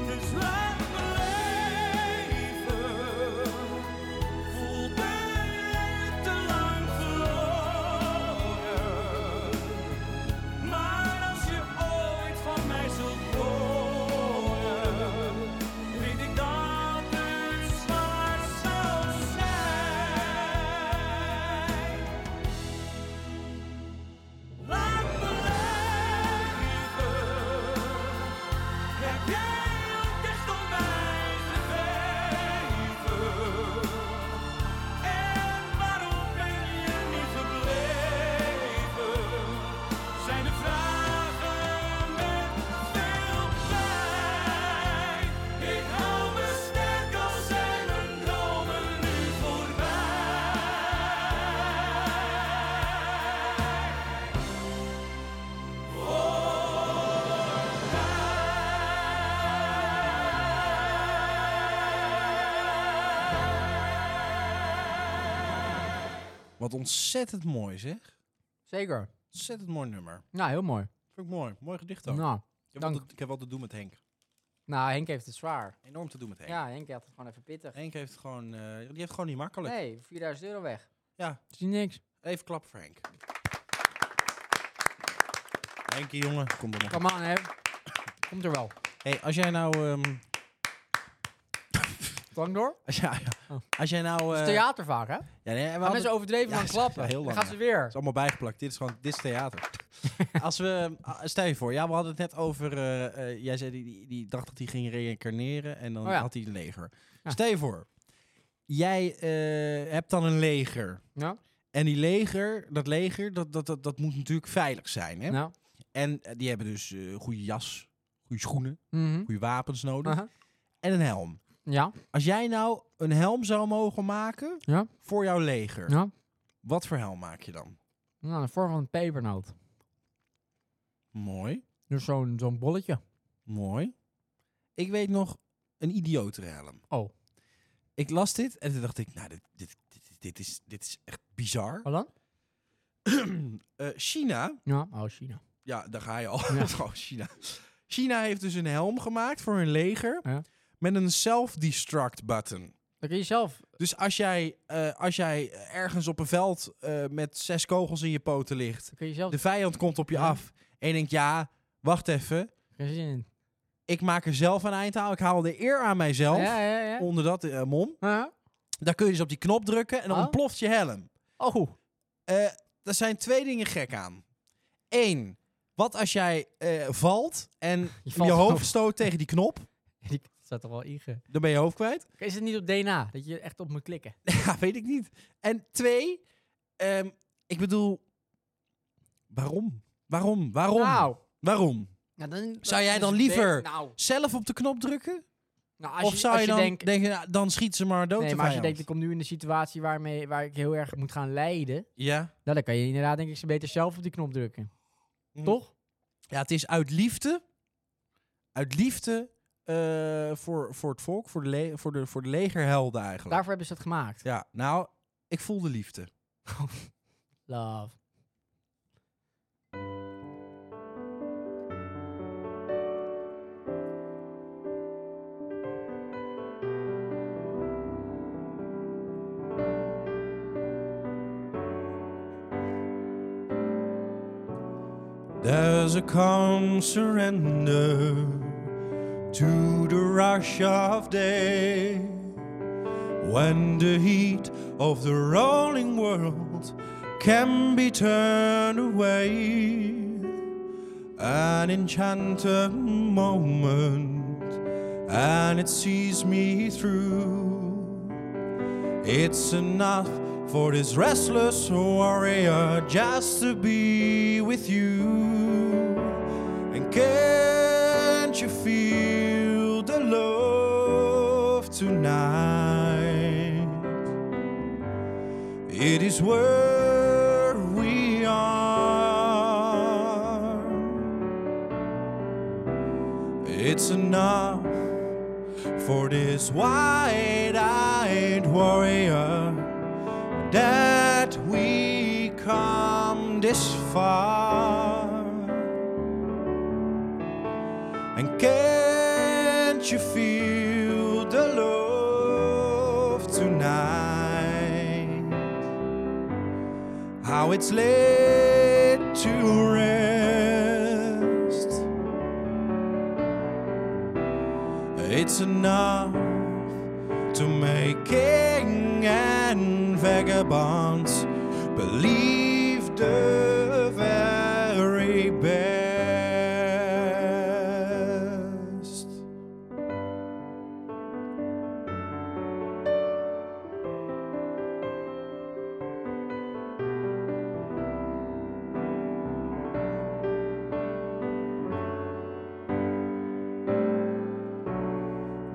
I: Dus laat me leven. Voel mij te lang verloren. Maar als je ooit van mij zult horen, weet ik dat het zwaar zal zijn. Laat me leven, heb jij ook echt om mij gegeven? En waarom ben je niet gebleven? Zijn de vragen met veel pijn. Ik hou me sterk al zijn mijn dromen nu voorbij.
A: Wat ontzettend mooi zeg.
B: Zeker.
A: Ontzettend mooi nummer.
B: Nou, heel mooi.
A: Vind ik mooi. Mooi gedicht ook.
B: Nou,
A: ik, heb wel
B: dank.
A: te, ik heb wel te doen met Henk.
B: nou, Henk heeft het zwaar.
A: Enorm te doen met Henk.
B: Ja, Henk had het gewoon even pittig.
A: Henk heeft gewoon, eh, die heeft gewoon niet makkelijk.
B: Nee, 4000 euro weg.
A: Ja,
B: Dat is niet niks.
A: even klap voor Henk. Henkie, jongen, kom er nog.
B: Kom aan, hè. Komt er wel.
A: Hey, als jij nou, ehm,
B: Lang door?
A: als, jij,
B: Oh.
A: als jij nou,
B: Het
A: eh,
B: is theater vaak, hè? Gaan
A: ja, nee, we hadden-
B: mensen overdreven
A: Ja,
B: dan
A: is-
B: klappen.
A: ja, heel
B: dan
A: lang,
B: gaan ze weer.
A: Het is allemaal bijgeplakt. Dit is gewoon dit is theater. Als we, ah, stel je voor, ja, we hadden het net over. eh, eh, jij zei die, die, die dacht dat hij ging reïncarneren en dan
B: Oh ja.
A: had hij een leger.
B: Ja.
A: Stel je voor, jij eh, hebt dan een leger.
B: Ja.
A: En die leger, dat leger, dat, dat, dat, dat moet natuurlijk veilig zijn. Hè?
B: Nou.
A: En eh, die hebben dus eh goede jas, goede schoenen,
B: Mhm.
A: goede wapens nodig
B: Aha.
A: en een helm.
B: Ja,
A: Als jij nou een helm zou mogen maken
B: Ja.
A: voor jouw leger,
B: ja.
A: wat voor helm maak je dan?
B: Nou, de vorm van een pepernoot.
A: Mooi.
B: Dus zo'n zo'n bolletje.
A: Mooi. Ik weet nog een idiotere helm.
B: Oh.
A: Ik las dit en toen dacht ik, nou, dit, dit, dit, dit is, dit is echt bizar.
B: Wat dan?
A: Eh, China,
B: Ja, oh, China.
A: ja, daar ga je al.
B: Ja.
A: Gewoon China. China heeft dus een helm gemaakt voor hun leger
B: Ja.
A: met een self-destruct button.
B: Dan kun je zelf...
A: Dus als jij, eh, als jij ergens op een veld eh, met zes kogels in je poten ligt,
B: Dan kun je zelf...
A: de vijand komt op je
B: Ja.
A: af en je denkt, ja, wacht even,
B: Geen zin in.
A: ik maak er zelf een eind aan, ik haal de eer aan mijzelf.
B: Ja, ja, ja.
A: Onder dat eh, mom.
B: Huh?
A: Daar kun je dus op die knop drukken en dan
B: Oh.
A: ontploft je helm.
B: Oh,
A: Eh er zijn twee dingen gek aan. Eén, wat als jij eh, valt en je,
B: Je valt
A: hoofd
B: over.
A: stoot tegen die knop?
B: die staat toch wel inge.
A: Dan ben je hoofd kwijt.
B: Is het niet op DNA? Dat je echt op moet klikken?
A: ja, weet ik niet. En twee, ehm, ik bedoel, waarom? Waarom? Waarom?
B: Nou.
A: Waarom?
B: Nou, dan,
A: Zou jij
B: is
A: dan
B: het
A: liever-
B: be- Nou,
A: Zelf op de knop drukken?
B: nou, als
A: of
B: je,
A: zou
B: als
A: je dan
B: denkt...
A: denken, nou, dan schiet ze maar dood
B: Nee,
A: de
B: maar als je
A: vijand?
B: denkt, ik kom nu in de situatie waarmee, waar ik heel erg moet gaan lijden...
A: Ja.
B: Nou, dan kan je inderdaad denk ik ze beter zelf op die knop drukken.
A: Hm.
B: Toch?
A: ja, het is uit liefde. Uit liefde eh, voor, voor het volk, voor de, le- voor de, voor de legerhelden eigenlijk.
B: Daarvoor hebben ze het gemaakt.
A: Ja, nou, ik voel de liefde.
B: Love.
A: There's a calm surrender to the rush of day.
I: when the heat of the rolling world can be turned away. An enchanted moment, and it sees me through. It's enough for this restless warrior just to be with you. And can't you feel the love tonight? It is where we are. It's enough for this wide-eyed warrior that we come this far. And can't you feel the love tonight? How it's laid to rest. It's enough to make king and vagabonds believe the very best.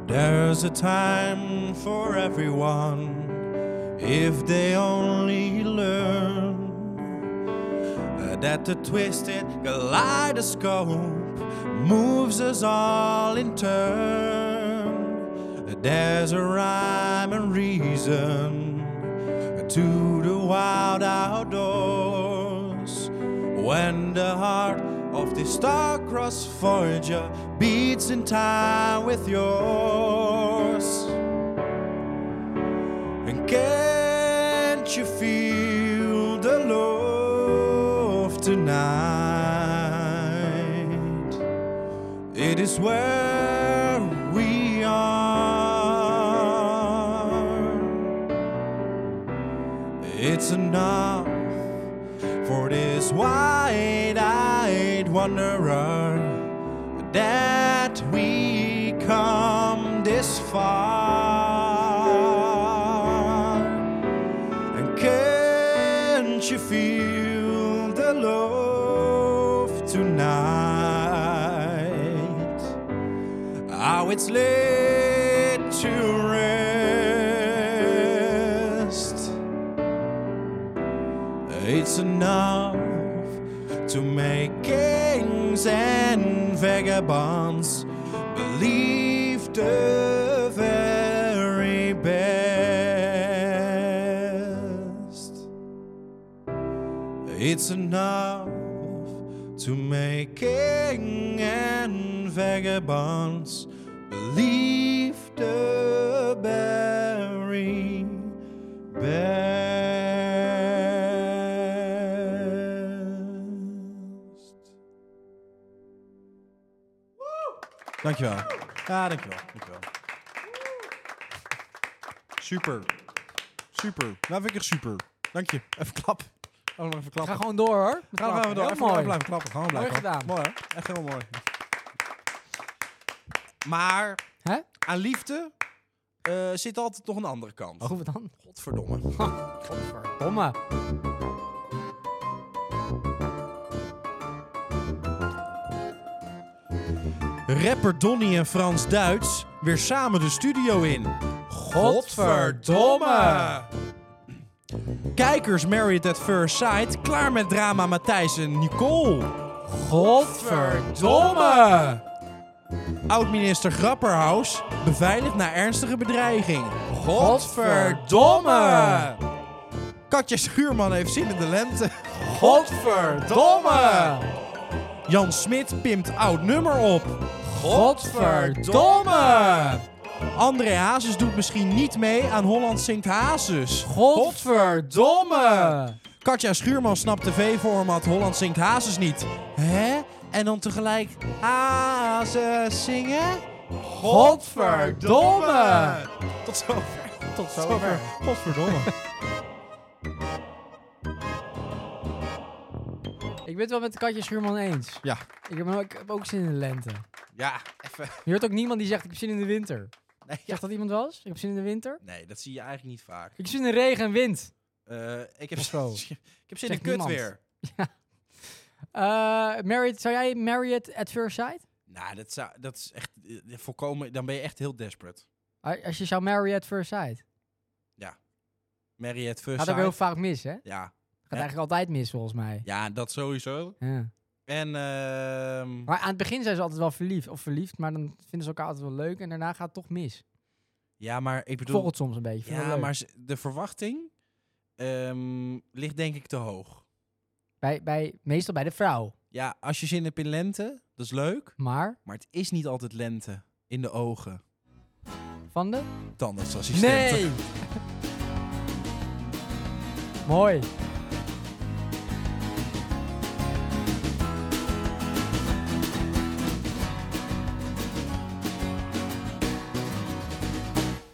I: There's a time for everyone if they only learn that the twisted kaleidoscope moves us all in turn. There's a rhyme and reason to the wild outdoors when the heart of the star-crossed voyager beats in time with yours. And can't you feel the love tonight? It is where we are. It's enough for this wide-eyed wanderer that we come this far. And can't you feel the love tonight? How it's laid to rest. It's enough to make kings and vagabonds believe the very best. It's enough to make king and vagabonds believe the very best.
A: Dankjewel. Ja, dankjewel. dankjewel. Super. Super. Nou vind ik echt super. Dank je. Even klap. Oh, nog even
B: Ga
A: klappen.
B: gewoon door hoor. Met
A: Gaan we
B: klappen.
A: even door.
B: Heel
A: Even mooi.
B: mooi.
A: blijven klappen. Gewoon
B: Mooi
A: blijven klappen.
B: gedaan.
A: Mooi hè? Echt heel mooi. Maar
B: Hè?
A: aan liefde eh, zit altijd nog een andere kant.
B: Oh, wat dan?
A: Godverdomme.
B: Godverdomme.
A: Rapper Donny en Frans Duits weer samen de studio in.
B: Godverdomme.
A: Kijkers Married at First Sight klaar met drama Matthijs en Nicole.
B: Godverdomme.
A: Oud-minister Grapperhaus beveiligd na ernstige bedreiging.
B: Godverdomme.
A: Katja Schuurman heeft zin in de lente.
B: Godverdomme.
A: Jan Smit pimpt oud nummer op.
B: Godverdomme.
A: André Hazes doet misschien niet mee aan Holland Zingt Hazes.
B: Godverdomme.
A: Katja Schuurman snapt tv-format Holland zingt Hazes niet. Hè? En dan tegelijk Hazes zingen?
B: Godverdomme.
A: Tot zover.
B: Tot zover.
A: Potverdomme.
B: Ik ben het wel met de katje Schuurman eens.
A: Ja.
B: Ik heb, ook- ik heb ook zin in de lente.
A: ja, even.
B: Je hoort ook niemand die zegt, ik heb zin in de winter.
A: Nee, ja.
B: Zegt dat iemand wel eens? Ik heb zin in de winter?
A: nee, dat zie je eigenlijk niet vaak.
B: Ik heb zin in regen en wind.
A: Eh, ik, heb
B: Of zo.
A: ik heb zin in
B: Zegt
A: kut
B: niemand.
A: weer.
B: Eh Married, zou jij Marriott at First Sight?
A: Nou, dat, zou, dat is echt eh, volkomen. Dan ben je echt heel desperate.
B: Ah, Als je zou Marriott at First Sight.
A: Mary at first
B: Gaat ook heel
A: sight.
B: vaak mis, hè? Gaat
A: Ja.
B: eigenlijk altijd mis, volgens mij.
A: ja, dat sowieso.
B: Ja.
A: En ehm,
B: Maar aan het begin zijn ze altijd wel verliefd. Of verliefd, maar dan vinden ze elkaar altijd wel leuk. En daarna gaat het toch mis.
A: ja, maar ik
B: Ik
A: bedoel,
B: volg het soms een beetje. Vind ik
A: ja,
B: wel leuk.
A: maar ze- de verwachting ehm, ligt denk ik te hoog.
B: Bij, bij, meestal bij de vrouw.
A: Ja, als je zin hebt in lente, dat is leuk,
B: Maar
A: maar het is niet altijd lente in de ogen.
B: van de...
A: Tandartsassistenten.
B: Mooi.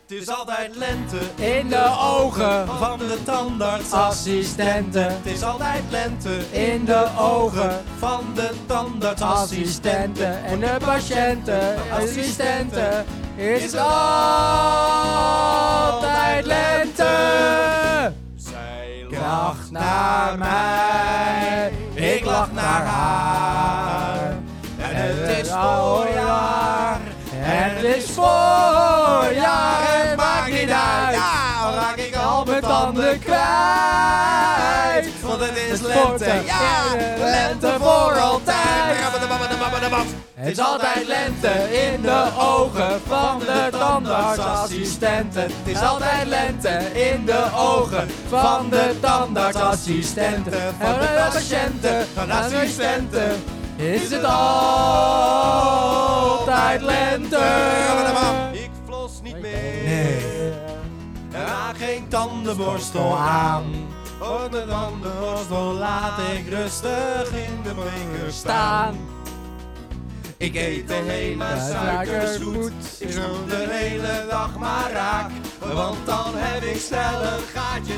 A: Het is altijd lente
B: In de ogen
A: van de tandartsassistenten.
B: assistenten.
A: Het is altijd lente
B: In de ogen
A: van de tandartsassistenten.
B: assistenten. En de patiënten, assistenten. Is
A: Is
B: altijd
A: altijd
B: lente.
A: lente.
I: Zij
B: Lach naar mij. Ik lach naar haar.
A: En
B: Het is voorjaar, het is voorjaar, het maakt niet uit.
A: Ja, Nou, dan raak ik
B: Al mijn tanden kwijt.
A: kwijt. Want het is
B: Het
A: lente,
B: wordt een
A: ja,
B: fijne
A: lente voor altijd.
B: Het is altijd lente in de ogen van de tandartsassistenten. Het is altijd lente in de ogen van de tandartsassistenten. Van de patiënten, van de assistenten. Is het altijd lente?
F: Ik flos niet meer.
A: Nee, raak geen tandenborstel aan. Ook de tandenborstel laat ik rustig in de beker staan.
B: Staan.
A: Ik eet alleen maar
B: Suikerzoet.
A: suikerzoet. Ik zoen de hele dag maar raak. Want dan heb ik snel een gaatje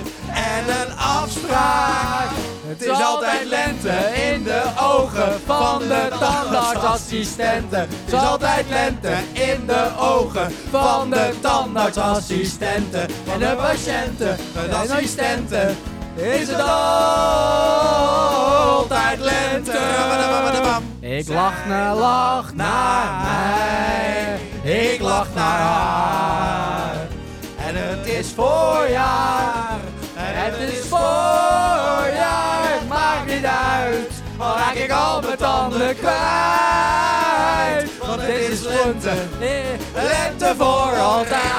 A: en een afspraak.
B: Het is altijd lente in de ogen van de tandartsassistenten. Het is altijd lente in de ogen van de tandartsassistenten. En de patiënten, de assistenten, is het altijd lente. Ik lach naar, lach naar mij. Ik lach naar haar. En het is voorjaar. Het is voorjaar. Het maakt niet uit. Al raak ik al mijn tanden kwijt. Want het is lente. eh, Lente voor altijd.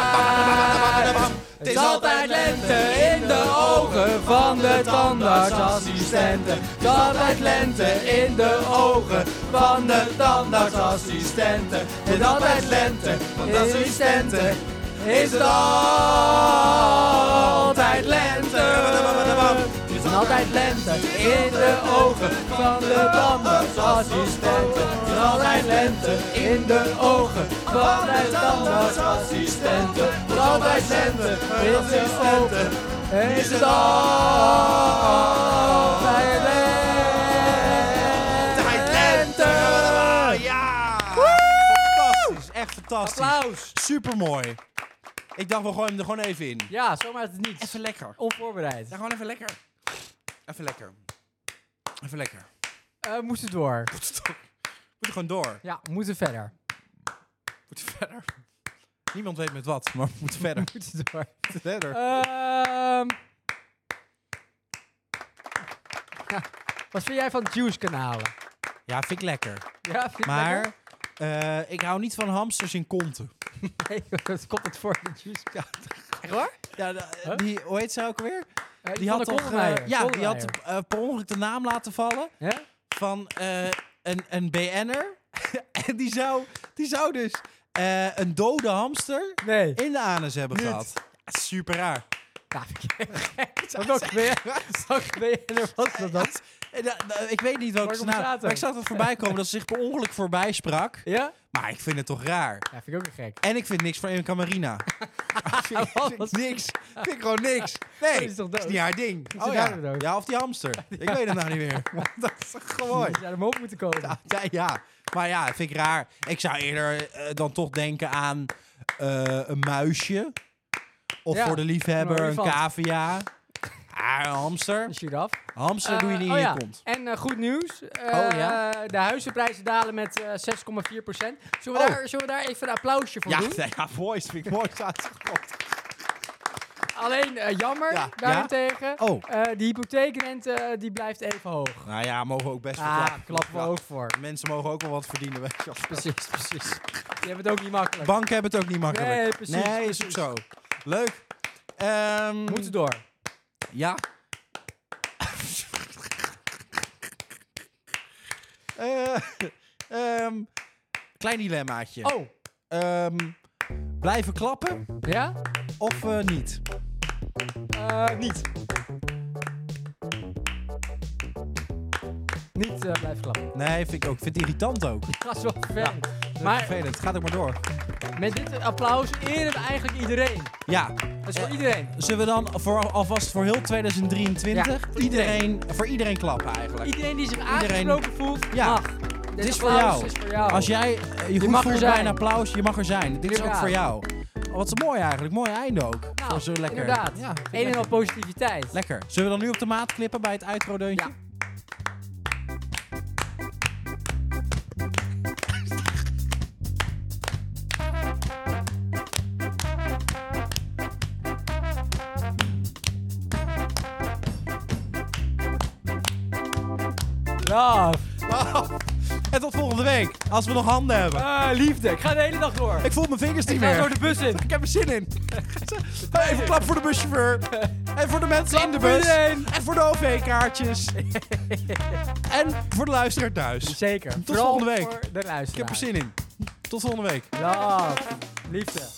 B: Het is altijd lente in de ogen van de tandartsassistenten. Het is altijd lente in de ogen van de tandartsassistenten. Het is altijd lente van de assistenten. Is het altijd lente? Het is altijd lente in de ogen van de tandartsassistenten. Het is altijd lente in de ogen van de tandartsassistenten. Het is altijd lente in de ogen. En is het altijd lente?
A: Ja! Fantastisch, echt fantastisch.
B: Applaus!
A: Supermooi. Ik dacht, we gooien hem er gewoon even in.
B: Ja, zomaar uit het niets.
A: Even lekker.
B: Onvoorbereid.
A: Ja, gewoon even lekker. Even lekker. Even lekker.
B: Eh, moest het door.
A: Moet er gewoon door.
B: Ja, we moeten verder.
A: Moet verder. Niemand weet met wat, maar we moeten verder.
B: We moeten door.
A: Moet verder.
B: Ehm. Ja, Wat vind jij van juice-kanalen?
A: Ja, vind ik lekker.
B: Ja, vind je het
A: Maar
B: lekker?
A: eh, ik hou niet van hamsters in konten.
B: Nee, joh, dat komt het voor de juice Echt hoor?
A: Ja, de- eh, die, hoe heet ze ook weer?
B: die had toch...
A: eh, ja, die had eh, per ongeluk de naam laten vallen
B: Ja?
A: van eh, een, een BN'er. en die zou, die zou dus eh, een dode hamster
B: Nee.
A: in de anus hebben
B: Niet.
A: gehad. Ja, super raar.
B: Ja, vind ik echt gek. Welke BN'er welke BN'er was dat dan?
A: En, eh, nou, ik weet niet welke
B: Waar
A: ze
B: komt
A: naam...
B: het
A: Maar ik zag het voorbij komen dat ze zich per ongeluk voorbij sprak.
B: Ja?
A: Maar ik vind het toch raar.
B: Ja, vind ik ook gek.
A: En ik vind niks van Emka Marina. ik vind niks. Ik vind gewoon niks. Nee,
B: Die is toch
A: dat is
B: dood?
A: niet haar ding.
B: is
A: Oh
B: haar
A: ja.
B: weer dood?
A: ja, of die hamster. Ik weet het nou niet meer. dat is toch gewoon...
B: Die zouden omhoog moeten komen.
A: Ja, ja, maar ja, vind ik raar. Ik zou eerder eh, dan toch denken aan eh, een muisje. Of
B: Ja,
A: voor de liefhebber
B: een
A: een
B: olifant.
A: cavia. Ah, een hamster.
B: Een giraf.
A: Hamster
B: Eh,
A: doe je niet
B: oh
A: in
B: ja.
A: je kont.
B: En eh, goed nieuws. Eh,
A: Oh, ja?
B: De huizenprijzen dalen met eh, 6,4 Zullen,
A: Oh.
B: we daar, zullen we daar even een applausje voor
A: Ja,
B: doen?
A: nee, ja, voice vind ik mooi uitgekomen.
B: Alleen eh, jammer,
A: Ja.
B: daarentegen.
A: Oh.
B: eh, de hypotheekrente eh, die blijft even hoog.
A: Nou ja, mogen we ook best wel
B: Ah,
A: klappen.
B: klappen we
A: Ja,
B: ook voor.
A: Mensen mogen ook wel wat verdienen. Weet je. wel.
B: Precies, precies. Die hebben het ook niet makkelijk.
A: Banken hebben het ook niet makkelijk.
B: Nee, precies,
A: Nee, is ook zo. Leuk. Ehm,
B: Moeten door.
A: Ja. Eh, ehm, klein dilemmaatje.
B: Oh,
A: Ehm, blijven klappen
B: ja?
A: of eh, niet?
B: Eh, niet. Niet eh, blijven klappen.
A: Nee, vind ik ook. Ik vind het irritant ook. Dat
B: Dat is wel vervelend.
A: is
B: maar
A: vervelend. Gaat ook maar door.
B: met dit applaus eren we eigenlijk iedereen.
A: Ja.
B: Dat is voor iedereen.
A: Zullen we dan voor, alvast voor heel 2023
B: Ja, voor
A: iedereen, voor iedereen klappen eigenlijk?
B: Iedereen die zich
A: Iedereen-
B: aangesproken voelt,
A: Ja.
B: mag.
A: Dit
B: Dit
A: is voor
B: applaus
A: jou.
B: is voor jou.
A: Als jij eh, je goed
B: mag er
A: voelt bij een
B: zijn.
A: applaus, je mag er zijn. Dit is ook
B: Inderdaad.
A: voor jou. Oh, wat is mooi eigenlijk. Mooi einde ook.
B: Nou,
A: Zo- zo lekker.
B: inderdaad.
A: Ja, vind ik
B: Een en
A: lekker.
B: al positiviteit.
A: Lekker. Zullen we dan nu op de maat klippen bij het uitrodeuntje?
B: Ja. Love.
A: Oh. En tot volgende week, als we nog handen hebben.
B: Ah, liefde. Ik ga de hele dag door.
A: Ik voel mijn vingers niet
B: Ik ga zo
A: meer.
B: de bus in.
A: Ik heb er zin in. Even klap voor de buschauffeur. En voor de mensen in de
B: voor
A: bus.
B: iedereen.
A: En voor de OV-kaartjes. En voor de luisteraar thuis. Ik
B: Zeker.
A: volgende week.
B: Voor de luisteraar.
A: heb er zin in. Tot volgende week.
B: Love. Liefde.